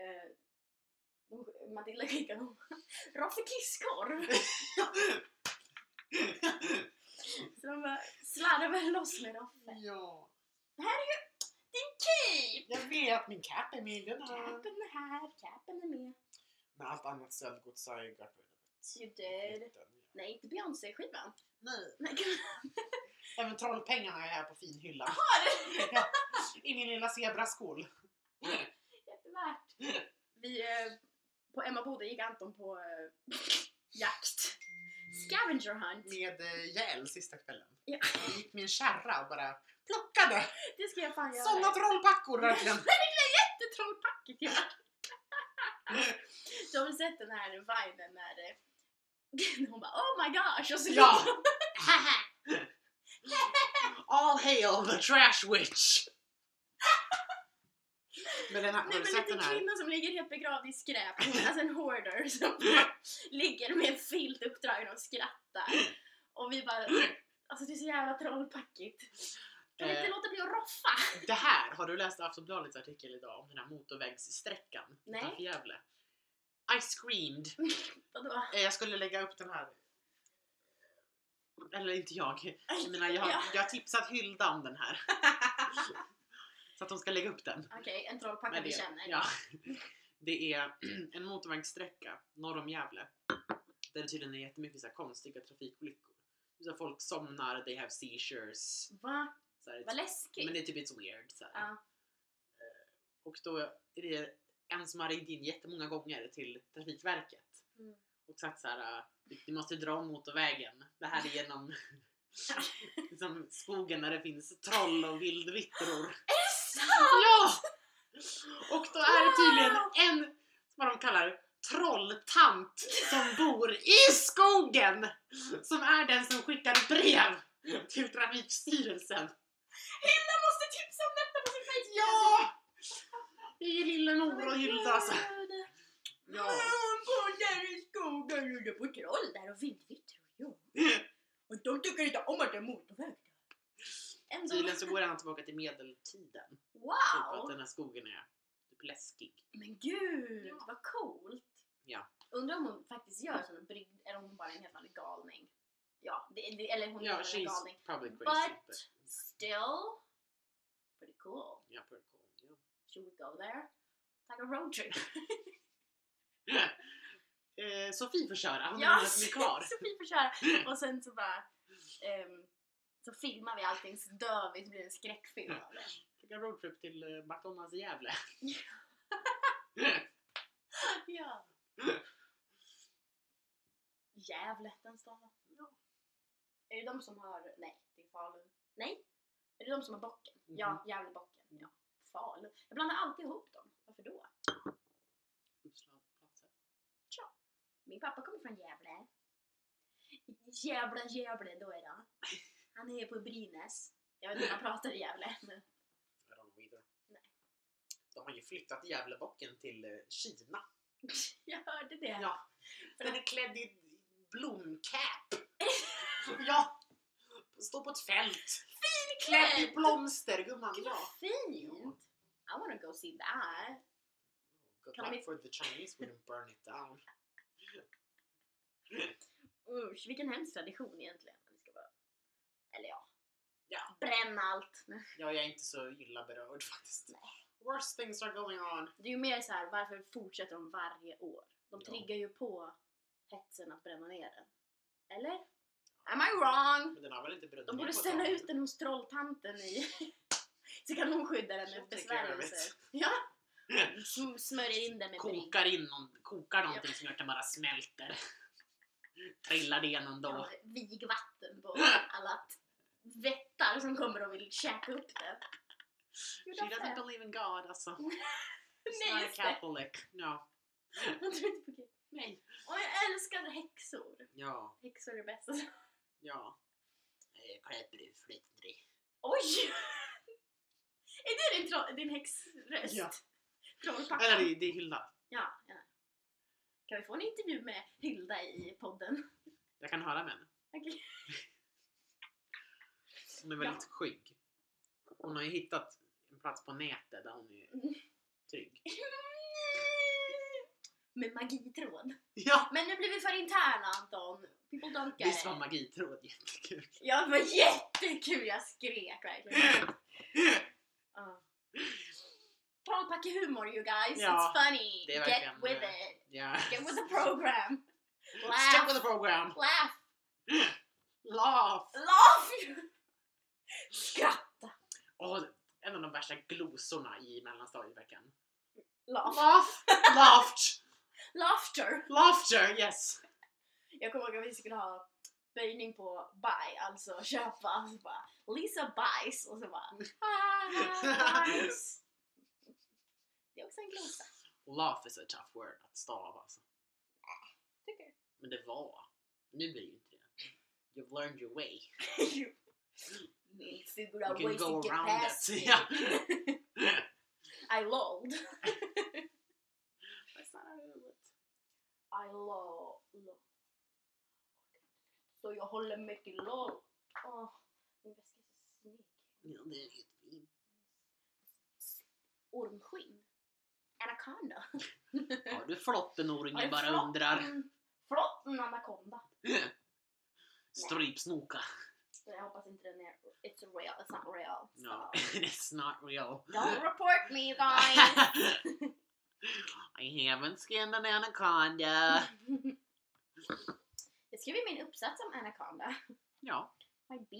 Speaker 1: eh, de- Matilda skickar dem Roffe kisskorv! Så de bara slarvar loss med Roffe.
Speaker 2: ja.
Speaker 1: Typ!
Speaker 2: Jag vet, min katt är miljonär.
Speaker 1: Capen är här, Capen är med.
Speaker 2: Men allt annat stöldgods har jag got rid of
Speaker 1: You
Speaker 2: it.
Speaker 1: did. Typ Nej, inte Beyoncé-skivan.
Speaker 2: Nej,
Speaker 1: Nej, gud.
Speaker 2: även trollpengarna är här på fin hylla. I min lilla zebraskål.
Speaker 1: Jättevärt. Vi, eh, på Emma Boda gick Anton på eh, jakt. Scavenger hunt.
Speaker 2: Med eh, gäll sista kvällen.
Speaker 1: Ja.
Speaker 2: Jag gick med en kärra och bara plockade.
Speaker 1: Det ska jag fan göra.
Speaker 2: Sådana trollpackor verkligen.
Speaker 1: jättetrollpacket jag Du har väl sett den här vinen när eh, hon bara oh my gosh och så
Speaker 2: Ja! All hail the trash witch! Men den här,
Speaker 1: Nej
Speaker 2: har du
Speaker 1: men
Speaker 2: sett
Speaker 1: en
Speaker 2: den här?
Speaker 1: kvinna som ligger helt begravd i skräp, alltså en hoarder som bara ligger med en filt uppdragen och skrattar. Och vi bara, alltså det är så jävla trollpackigt. Kan vi inte
Speaker 2: Eh.
Speaker 1: låta bli att roffa?
Speaker 2: Det här, har du läst Aftonbladets artikel idag om den här motorvägssträckan
Speaker 1: Nej.
Speaker 2: utanför Gävle? I screamed.
Speaker 1: Vadå?
Speaker 2: Eh, Jag skulle lägga upp den här. Eller inte jag. Jag, menar, jag,
Speaker 1: Ja.
Speaker 2: har, jag har tipsat Hylda om den här. Så att hon ska lägga upp den.
Speaker 1: Okej, en trollpacka
Speaker 2: Men
Speaker 1: vi
Speaker 2: det-
Speaker 1: känner.
Speaker 2: Ja. Det är en motorvägssträcka norr om Gävle. Där det tydligen är jättemycket så här konstiga trafikolyckor. Så här folk somnar, they have seizures.
Speaker 1: Va?
Speaker 2: Så här,
Speaker 1: Vad läskigt.
Speaker 2: men det är typ it's weird. Så här.
Speaker 1: Ja.
Speaker 2: Och då är det en som har ringt in jättemånga gånger till Trafikverket
Speaker 1: Mm.
Speaker 2: och sagt så här: äh, "Vi- vi måste dra om motorvägen. Det här är genom liksom skogen där det finns troll och vildvittror.
Speaker 1: Är det sant?
Speaker 2: Ja! Och då är det tydligen
Speaker 1: Wow!
Speaker 2: en, vad de kallar trolltant som bor i skogen! Som är den som skickar brev till Trafikstyrelsen.
Speaker 1: Hilda måste tipsa om detta på sin Facebook!
Speaker 2: Ja! Det är ju lilla mor och Hilda alltså.
Speaker 1: Gud.
Speaker 2: Ja.
Speaker 1: Hon bor där i skogen och det bor troll där och vindvittror. Ja. Och de tycker inte om att det är motorväg där. Ändå.
Speaker 2: Tydligen så går han tillbaka till medeltiden. Typ att
Speaker 1: Wow!
Speaker 2: den här skogen är typ läskig.
Speaker 1: Men gud
Speaker 2: Ja.
Speaker 1: vad coolt!
Speaker 2: Ja.
Speaker 1: Undrar om hon faktiskt gör sån brygd, eller om hon bara är en helt vanlig galning. Ja, det, det, eller hon
Speaker 2: Ja,
Speaker 1: är en
Speaker 2: she's
Speaker 1: galning.
Speaker 2: probably crazy.
Speaker 1: But-
Speaker 2: but-
Speaker 1: Still, pretty cool.
Speaker 2: yeah, pretty cool.
Speaker 1: Should we go there? Like a road trip.
Speaker 2: Yeah. eh, Sofie får köra, hon har
Speaker 1: Ja,
Speaker 2: yes. kvar.
Speaker 1: Sofie får köra. Och sen så bara... ehm, så filmar vi allting så dör vi så blir det en skräckfilm av det.
Speaker 2: Fick en roadtrip till eh, McDonalds i Gävle.
Speaker 1: Ja. Ja. Gävle, den staden.
Speaker 2: Ja.
Speaker 1: Är det de som har... Nej, det är Falun. Nej? Är det de som har bocken?
Speaker 2: Mhm.
Speaker 1: Ja, Gävlebocken. Ja. Falun. Jag blandar alltid ihop dem. Varför då?
Speaker 2: Uppslagplatsen.
Speaker 1: Min pappa kommer från Gävle. Gävle, Gävle då är det. Han är på Brynäs. Jag vet inte om han pratar i Gävle. men-
Speaker 2: I don't know either.
Speaker 1: Nej.
Speaker 2: De har ju flyttat Gävlebocken till eh, Kina.
Speaker 1: Jag hörde det.
Speaker 2: Ja.
Speaker 1: För
Speaker 2: Den är klädd i blomcap. ja. Står på ett fält. Klädd i blomster gumman.
Speaker 1: Gud
Speaker 2: Ja.
Speaker 1: vad fint! I wanna go see that.
Speaker 2: Good
Speaker 1: Kan
Speaker 2: luck
Speaker 1: vi-
Speaker 2: for the Chinese wouldn't burn it down.
Speaker 1: Usch, vilken hemsk tradition egentligen. Vi ska bara... Eller ja.
Speaker 2: Ja.
Speaker 1: Bränn allt.
Speaker 2: Ja, jag är inte så illa berörd faktiskt. Worst things are going on.
Speaker 1: Det är ju mer så här, varför fortsätter de varje år? De
Speaker 2: Ja.
Speaker 1: triggar ju på hetsen att bränna ner den. Eller? Am I wrong?
Speaker 2: Men den har väl inte brunnit
Speaker 1: De
Speaker 2: ner på
Speaker 1: borde
Speaker 2: ett
Speaker 1: ställa
Speaker 2: tag.
Speaker 1: ut den hos trolltanten i... så kan hon skydda den
Speaker 2: Så
Speaker 1: med
Speaker 2: tycker jag
Speaker 1: besvärjelser. Ja! Sm- Smörjer in den med brygg.
Speaker 2: kokar in någon, kokar någonting som gör att den bara smälter. Trillar det igenom då.
Speaker 1: Ja, vigvatten på alla t- vättar som kommer och vill käka upp det. Gjorde
Speaker 2: She
Speaker 1: han
Speaker 2: doesn't
Speaker 1: det?
Speaker 2: believe in God alltså. She's
Speaker 1: Nej,
Speaker 2: not a
Speaker 1: just det.
Speaker 2: catholic. No.
Speaker 1: Han tror inte på Gud.
Speaker 2: Nej.
Speaker 1: Och jag älskar häxor.
Speaker 2: Ja,
Speaker 1: Häxor är bäst.
Speaker 2: ja. Eh, Kläper du flytdri.
Speaker 1: Oj! Är det din, tro- din häxröst?
Speaker 2: Ja. Eller
Speaker 1: Trollpappan?
Speaker 2: det, det är Hilda.
Speaker 1: Ja, ja. Kan vi få en intervju med Hilda i podden?
Speaker 2: Jag kan höra med henne.
Speaker 1: Okej.
Speaker 2: Hon är väldigt skygg. Hon har ju hittat en plats på nätet där hon är
Speaker 1: Mm.
Speaker 2: trygg.
Speaker 1: Med magitråd.
Speaker 2: Ja!
Speaker 1: Men nu blir vi för interna Anton. People don't get
Speaker 2: Visst
Speaker 1: it.
Speaker 2: var magitråd jättekul?
Speaker 1: Ja, det var jättekul! Jag skrek verkligen. Ja. Trollpackehumor you guys,
Speaker 2: Ja,
Speaker 1: it's funny!
Speaker 2: det är
Speaker 1: Get
Speaker 2: verkligen,
Speaker 1: with
Speaker 2: eh,
Speaker 1: it!
Speaker 2: Ja.
Speaker 1: Get with the program!
Speaker 2: Stick
Speaker 1: Laugh!
Speaker 2: with the program!
Speaker 1: Laugh!
Speaker 2: Laugh!
Speaker 1: Laugh! Skratta!
Speaker 2: Åh, en av de värsta glosorna i mellanstadieveckan.
Speaker 1: Laugh.
Speaker 2: Laugh! Laughed!
Speaker 1: Laughter!
Speaker 2: Laughter, yes!
Speaker 1: Jag kommer ihåg att vi skulle ha böjning på buy, alltså köpa. Så bara, Lisa buys och så bara ah, buys. Det är också en glosa,
Speaker 2: Laugh is a tough word att stava alltså.
Speaker 1: tycker jag.
Speaker 2: Men det var. Nu blir det inte det. You've learned your way.
Speaker 1: you need to figure out
Speaker 2: You can
Speaker 1: ways
Speaker 2: go
Speaker 1: to get
Speaker 2: around
Speaker 1: past
Speaker 2: it.
Speaker 1: me.
Speaker 2: Yeah.
Speaker 1: I lolled.
Speaker 2: That's not how it works.
Speaker 1: I loll. Så jag håller mig till loll. Åh, min väska är så snygg.
Speaker 2: Ja, det är jättefint.
Speaker 1: Ormskinn. Anaconda.
Speaker 2: Har du flottenorm?
Speaker 1: Har
Speaker 2: Jag
Speaker 1: du
Speaker 2: bara
Speaker 1: flotten?
Speaker 2: undrar.
Speaker 1: Förlåt, en anaconda.
Speaker 2: Strypsnoka.
Speaker 1: Så jag hoppas inte den är... It's real, it's not real. So.
Speaker 2: No, it's not real.
Speaker 1: Don't report me guys!
Speaker 2: I haven't skinned an anaconda.
Speaker 1: jag skrev ju min uppsats om anaconda.
Speaker 2: Ja,
Speaker 1: My B,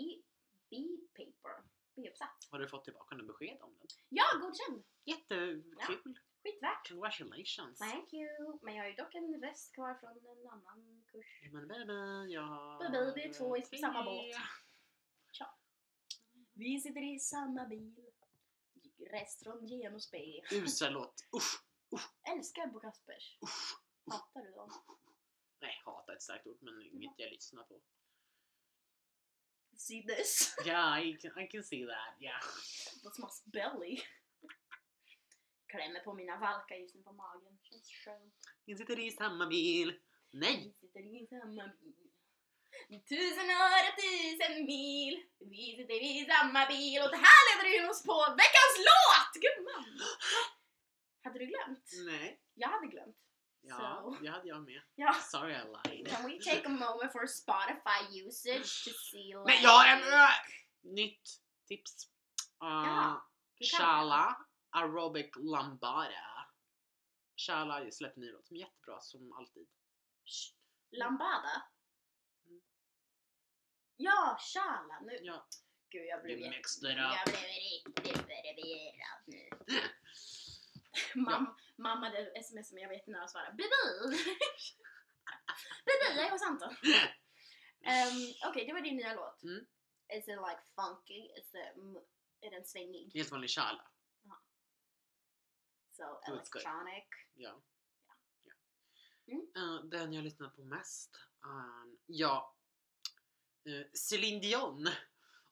Speaker 1: B-paper. B-uppsats.
Speaker 2: har du fått tillbaka något besked om den?
Speaker 1: Ja, godkänd!
Speaker 2: Jättekul!
Speaker 1: Skitvärt!
Speaker 2: Congratulations!
Speaker 1: Thank you! Men jag har ju dock en rest kvar från en annan kurs.
Speaker 2: Men baby, jag har...
Speaker 1: Baby, vi är två i
Speaker 2: tre.
Speaker 1: samma båt. Vi sitter i samma bil. Rest från genus B.
Speaker 2: Usel låt. Usch!
Speaker 1: Älskar Bo Kaspers. Hatar du dem?
Speaker 2: Nej, hata ett starkt ord men inget jag lyssnar på.
Speaker 1: See this?
Speaker 2: Yeah, I can, I can see that. Yeah.
Speaker 1: That's my belly. Klämmer på mina valkar just nu på magen. Känns skönt.
Speaker 2: Vi sitter i samma bil. Nej!
Speaker 1: Vi sitter i samma bil. Tusen öre, tusen mil. Vi sitter i samma bil. Och det här leder in oss på veckans låt! Gumman! Hade du glömt?
Speaker 2: Nej.
Speaker 1: Jag hade glömt.
Speaker 2: Ja,
Speaker 1: So.
Speaker 2: det hade jag med.
Speaker 1: Ja.
Speaker 2: Sorry I lied.
Speaker 1: Can we take a moment for Spotify usage to see like...
Speaker 2: Men jag har en ö! Nytt tips. Uh,
Speaker 1: Ja, du kan.
Speaker 2: Shala Aerobic Lambada. Shala släppte ny låt som är jättebra som alltid.
Speaker 1: Lambada?
Speaker 2: Mm.
Speaker 1: Ja, shala! Nu...
Speaker 2: Ja.
Speaker 1: Gud, jag blev
Speaker 2: You
Speaker 1: jätte...
Speaker 2: mixed it
Speaker 1: Jag
Speaker 2: up.
Speaker 1: blev riktigt förvirrad nu. Mam, Mamma hade sms som jag vet inte när jag svarade. Bibi! Bibi, jag är hos Anton. Ehm, Okej, det var din nya låt.
Speaker 2: Mm.
Speaker 1: Is it like funky? Is it, m- är den svängig?
Speaker 2: Helt vanlig Shala.
Speaker 1: So
Speaker 2: Låts good.
Speaker 1: electronic.
Speaker 2: Ja. ja.
Speaker 1: Mm.
Speaker 2: Eh, den jag lyssnar på mest är... Ja. eh, Céline Dion.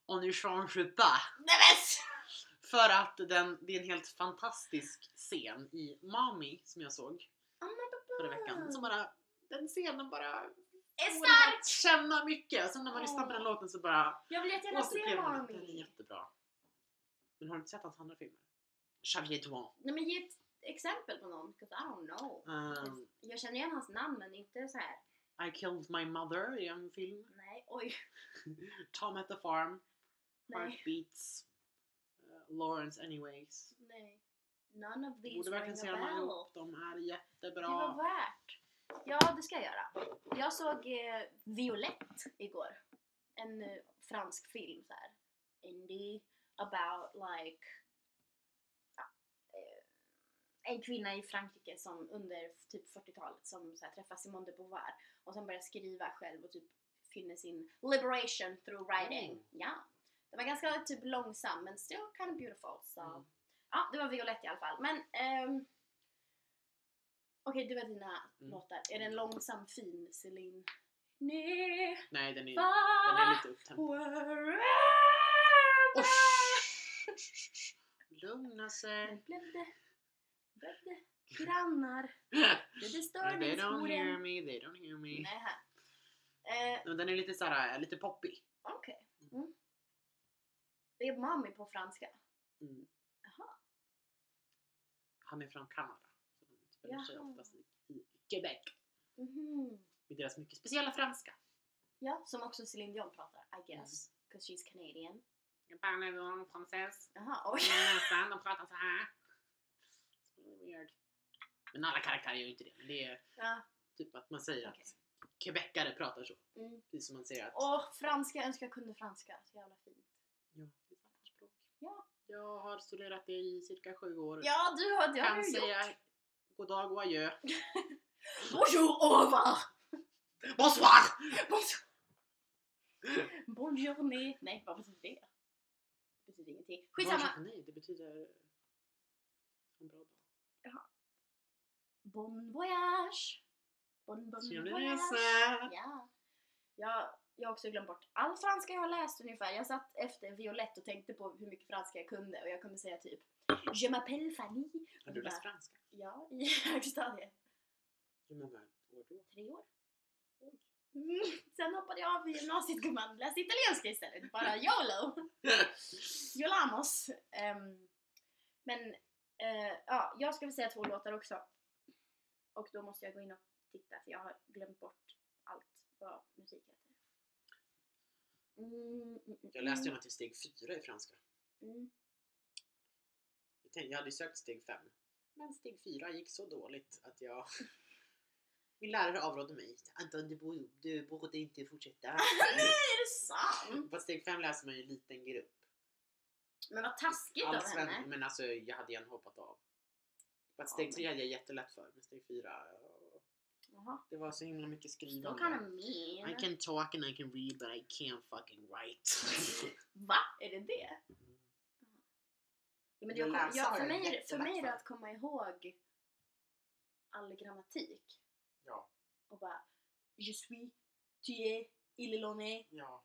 Speaker 2: On ne change pas.
Speaker 1: Nej men! s-
Speaker 2: För att den, det är en helt fantastisk scen i Mami som jag såg
Speaker 1: Oh my god.
Speaker 2: förra veckan. Som bara, den scenen bara...
Speaker 1: Ah. Är
Speaker 2: får en
Speaker 1: stark!
Speaker 2: att Känna mycket! Sen när man lyssnar på den låten så bara
Speaker 1: Jag vill jättegärna se
Speaker 2: återupplever man att den är
Speaker 1: Mami.
Speaker 2: jättebra. Men har du inte sett hans andra filmer? Xavier Doin.
Speaker 1: Nej men ge ett exempel på någon. 'cause I don't know.
Speaker 2: Um,
Speaker 1: Jag känner igen hans namn men inte så här.
Speaker 2: I killed my mother i en film.
Speaker 1: Nej, oj.
Speaker 2: Tom at the farm.
Speaker 1: Nej.
Speaker 2: Heartbeats. Uh, Lawrence anyways.
Speaker 1: Nej. None of
Speaker 2: Du
Speaker 1: these
Speaker 2: borde verkligen se
Speaker 1: ring a
Speaker 2: dem
Speaker 1: bell.
Speaker 2: allihop. De är
Speaker 1: Det var
Speaker 2: jättebra.
Speaker 1: värt. Ja, det ska jag göra. Jag såg eh, Violette igår. En eh, fransk film så här. Indie about like ja, eh, en kvinna i Frankrike som under typ 40-talet som så här, träffar Simone de Beauvoir och sen börjar skriva själv och typ finner sin liberation through writing.
Speaker 2: Mm.
Speaker 1: Ja. Den var ganska typ långsam men still kind of beautiful. So.
Speaker 2: Mm.
Speaker 1: Ja, det var Violette i alla fall. Men ehm, Okej, det var dina
Speaker 2: Mm.
Speaker 1: låtar. Är det en långsam fin Celine? Nej,
Speaker 2: Nej den är, den är
Speaker 1: va?
Speaker 2: lite upptempo.
Speaker 1: Wherever
Speaker 2: Och Lugna sig.
Speaker 1: blev det, blev det grannar, blev det
Speaker 2: They don't hear
Speaker 1: störningsmoren.
Speaker 2: me, they don't hear me.
Speaker 1: Nej, här. Eh,
Speaker 2: Men Den är lite såhär, lite poppig.
Speaker 1: Okej. Mm. Det är mami på franska.
Speaker 2: Mm.
Speaker 1: Jaha.
Speaker 2: Han är från Kanada. Så de utspelar sig
Speaker 1: Jaha.
Speaker 2: oftast i, i Quebec.
Speaker 1: Mhm.
Speaker 2: Med deras mycket speciella franska.
Speaker 1: Ja, som också Céline Dion pratar, I guess. Cause she's Canadian.
Speaker 2: Jag parlar franses.
Speaker 1: Jaha, oj.
Speaker 2: Nästan, de pratar så här. It's really weird. Men alla karaktärer gör ju inte det. Men det är
Speaker 1: Ja.
Speaker 2: typ att man säger
Speaker 1: Okej.
Speaker 2: att quebecare pratar så.
Speaker 1: Mm.
Speaker 2: Precis som man säger att...
Speaker 1: Åh, franska. Jag önskar jag kunde franska. Så jävla fint.
Speaker 2: Ja, det är ett vackert språk.
Speaker 1: Ja.
Speaker 2: Jag har studerat det i cirka sju år.
Speaker 1: Ja, du har, det har
Speaker 2: kan
Speaker 1: du gjort.
Speaker 2: säga god dag och adjö.
Speaker 1: Bonjour, au revoir!
Speaker 2: Bonsoir!
Speaker 1: Bonjour! Bonjourné! Nej, vad betyder det? Det betyder ingenting. Skitsamma!
Speaker 2: Bonjour, Nej, det betyder... En bra dag.
Speaker 1: Bon voyage! Bon bon
Speaker 2: Trevlig
Speaker 1: voyage!
Speaker 2: resa!
Speaker 1: Ja. Jag, jag har också glömt bort all franska jag har läst ungefär. Jag satt efter Violette och tänkte på hur mycket franska jag kunde och jag kunde säga typ Je m'appelle Fanny.
Speaker 2: Har du läst franska?
Speaker 1: Ja, i högstadiet.
Speaker 2: Hur många år då?
Speaker 1: Tre år. Mm. Sen hoppade jag av i gymnasiet gumman, läste italienska istället. Bara YOLO! Yolamos. Ehm, men eh, ja, jag ska väl säga två låtar också. Och då måste jag gå in och titta för jag har glömt bort allt vad musik heter. Mm, mm, mm,
Speaker 2: Jag läste ju något till steg fyra i franska.
Speaker 1: mm.
Speaker 2: Jag tänkte- Jag hade ju sökt steg fem. Men steg fyra gick så dåligt att jag... Min lärare avrådde mig. Anton, du borde, du borde inte fortsätta.
Speaker 1: Nej, är det sant?
Speaker 2: På steg fem läser man ju i liten grupp.
Speaker 1: Men vad taskigt av
Speaker 2: All sven-
Speaker 1: henne.
Speaker 2: Men alltså jag hade gärna hoppat av. För att steg
Speaker 1: men-
Speaker 2: tre hade jag jättelätt för, men steg fyra... åh,
Speaker 1: Jaha,
Speaker 2: Det var så himla mycket
Speaker 1: då kan
Speaker 2: skrivande.
Speaker 1: hon mena.
Speaker 2: I can talk and I can read but I can't fucking write.
Speaker 1: Va? Är det det? Ja, men
Speaker 2: Men
Speaker 1: jag kom,
Speaker 2: läsa
Speaker 1: jag,
Speaker 2: har
Speaker 1: för,
Speaker 2: jag
Speaker 1: mig, är det-
Speaker 2: lätt
Speaker 1: för
Speaker 2: i
Speaker 1: mig
Speaker 2: alla
Speaker 1: är det
Speaker 2: fall.
Speaker 1: att komma ihåg all grammatik
Speaker 2: ja,
Speaker 1: och bara Je suis, tu es, il est l'on est.
Speaker 2: ja.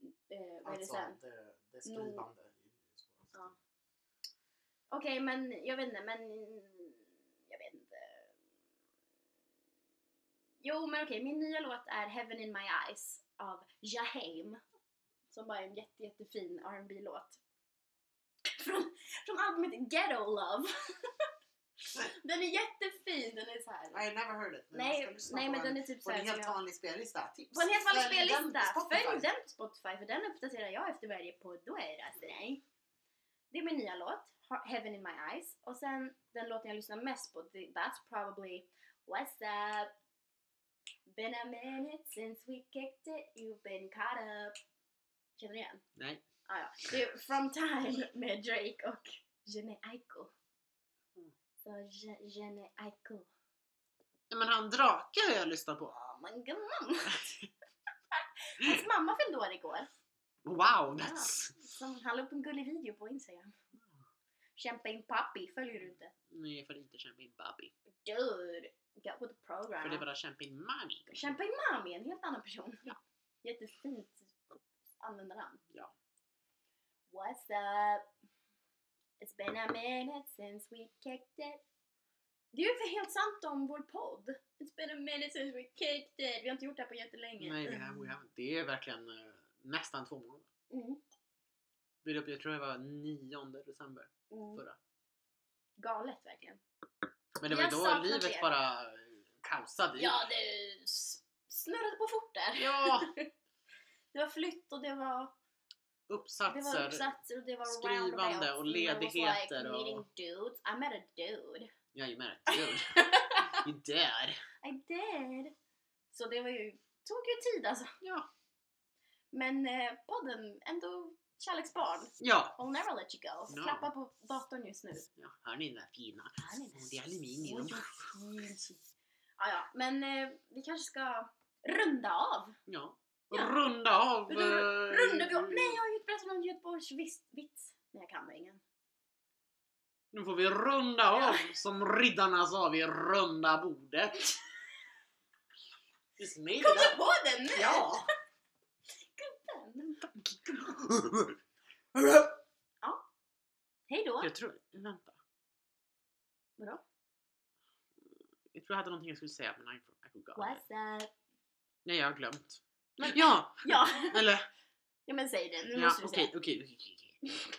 Speaker 2: alltså,
Speaker 1: Eh, vad är det sen?
Speaker 2: det, det
Speaker 1: skrivande
Speaker 2: är svårast.
Speaker 1: Ja. Okej, men jag vet inte, men jag vet inte. Jo, men okej, min nya låt är Heaven in my eyes av Jaheim. Som bara är en jätte, jättefin R&B låt Från, från albumet Ghetto Love. Den är jättefin, den är så här.
Speaker 2: I never heard it. men jag ska
Speaker 1: Nej,
Speaker 2: lyssna
Speaker 1: nej
Speaker 2: på
Speaker 1: men
Speaker 2: den.
Speaker 1: den är typ
Speaker 2: På en
Speaker 1: såhär
Speaker 2: helt vanlig spellista. Tips!
Speaker 1: På en helt vanlig
Speaker 2: Följ den
Speaker 1: spellista!
Speaker 2: på Spotify.
Speaker 1: Följ den på Spotify för den uppdaterar jag efter varje podd. Då är det alltså dig. Det är min nya låt, Ha- Heaven in my eyes. Och sen den låten jag lyssnar mest på, det- that's probably What's up? Been a minute since we kicked it, you've been caught up. Känner du igen?
Speaker 2: Nej.
Speaker 1: Ah, ja. Det är From Time med Drake och Jenny Aiko.
Speaker 2: Mm.
Speaker 1: Så Je- Jenny Aiko.
Speaker 2: Nej, Men han Drake har jag lyssnat på.
Speaker 1: Oh my god! Hans mamma fyllde år igår.
Speaker 2: Wow! That's...
Speaker 1: Som han la upp en gullig video på Instagram. Kämpa in pappi, följer du inte?
Speaker 2: Nej, jag får inte kämpa in Bobby.
Speaker 1: Dude, get with the
Speaker 2: För det är
Speaker 1: program.
Speaker 2: bara kämpa in mommy.
Speaker 1: Kämpa in mami, en helt annan person. Jättefint användarnamn.
Speaker 2: Ja.
Speaker 1: What's up? It's been a minute since we kicked it. Det är ju för helt sant om vår podd. It's been a minute since we kicked it. Vi har inte gjort det här på jättelänge.
Speaker 2: Nej, vi har, we haven't. Det är verkligen eh, nästan två månader.
Speaker 1: Mm.
Speaker 2: Vi la upp- Jag tror det var 9 december
Speaker 1: Mm.
Speaker 2: förra.
Speaker 1: Galet verkligen.
Speaker 2: Men det var
Speaker 1: Jag
Speaker 2: ju då
Speaker 1: saknar
Speaker 2: livet
Speaker 1: det.
Speaker 2: bara kaosade i.
Speaker 1: Ja, det s- snurrade på fort där.
Speaker 2: ja!
Speaker 1: Det var flytt och det var, det
Speaker 2: Uppsatser.
Speaker 1: var uppsatser och det var
Speaker 2: Skrivande
Speaker 1: roundabouts
Speaker 2: och
Speaker 1: and I was
Speaker 2: ledigheter och-
Speaker 1: Like meeting dudes. I met a dude.
Speaker 2: Jajamän, dude. You dead.
Speaker 1: I did. Så det var ju, tog ju tid alltså.
Speaker 2: Ja.
Speaker 1: Men eh, podden, ändå kärleksbarn.
Speaker 2: Ja.
Speaker 1: I'll never let you go.
Speaker 2: No.
Speaker 1: Klappa på datorn just nu.
Speaker 2: ja. Hör ni den där fina?
Speaker 1: Han är
Speaker 2: Och det är aluminium.
Speaker 1: så fin. Ja, ja, men eh, vi kanske ska runda av.
Speaker 2: Ja.
Speaker 1: Ja.
Speaker 2: Runda av.
Speaker 1: Runda-
Speaker 2: eh,
Speaker 1: Runda vi av. Nej, jag har ju berättat någon Göteborgsvits. Men jag kan ingen.
Speaker 2: Nu får vi runda
Speaker 1: Ja.
Speaker 2: av som riddarna sa vid runda bordet. Just me.
Speaker 1: Kom du på den nu?
Speaker 2: Ja.
Speaker 1: Gubben. Hej då.
Speaker 2: Jag tror, vänta.
Speaker 1: Vadå?
Speaker 2: Jag tror jag hade någonting jag skulle säga men I, I forgot. it.
Speaker 1: What's up?
Speaker 2: Nej jag har glömt.
Speaker 1: Men-
Speaker 2: Ja!
Speaker 1: Ja,
Speaker 2: Eller
Speaker 1: ja men säg det. Nu
Speaker 2: Ja,
Speaker 1: måste du
Speaker 2: okej,
Speaker 1: säga.
Speaker 2: okej, okej, okej, okej.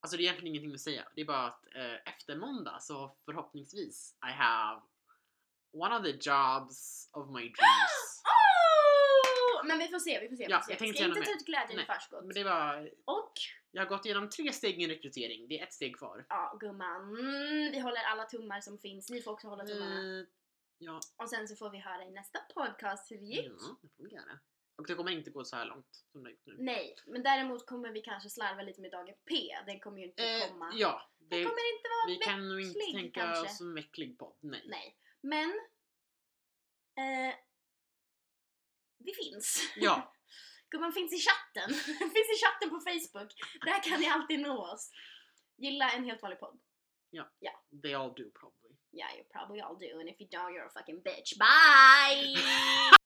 Speaker 2: Alltså det är egentligen ingenting att säga. Det är bara att eh, efter måndag så förhoppningsvis I have one of the jobs of my dreams.
Speaker 1: Oh! Men vi får se, vi får se.
Speaker 2: Ja,
Speaker 1: vi får se.
Speaker 2: jag tänkte
Speaker 1: Ska
Speaker 2: gärna
Speaker 1: inte ta
Speaker 2: med.
Speaker 1: ut glädjen i
Speaker 2: Nej,
Speaker 1: förskott.
Speaker 2: Men det var,
Speaker 1: Och,
Speaker 2: jag har gått igenom tre steg i en rekrytering. Det är ett steg kvar.
Speaker 1: ja gumman, mm, vi håller alla tummar som finns. Ni får också hålla tummarna.
Speaker 2: Eh, ja,
Speaker 1: Och sen så får vi höra i nästa podcast hur det gick.
Speaker 2: ja, det får vi göra. Och det kommer inte gå så här långt som det har gjort nu.
Speaker 1: Nej, men däremot kommer vi kanske slarva lite med dagen P. Den kommer ju inte
Speaker 2: Eh,
Speaker 1: komma.
Speaker 2: ja,
Speaker 1: Den
Speaker 2: det,
Speaker 1: kommer inte vara
Speaker 2: vi kan nog inte
Speaker 1: vecklig
Speaker 2: tänka
Speaker 1: kanske.
Speaker 2: oss en vecklig podd. Nej.
Speaker 1: Nej, men eh, vi finns.
Speaker 2: Ja.
Speaker 1: Gumman finns i chatten. finns i chatten på Facebook. Där kan ni alltid nå oss. Gilla en helt vanlig podd.
Speaker 2: They all do probably.
Speaker 1: Yeah, you probably all do. And if you don't, you're a fucking bitch. Bye!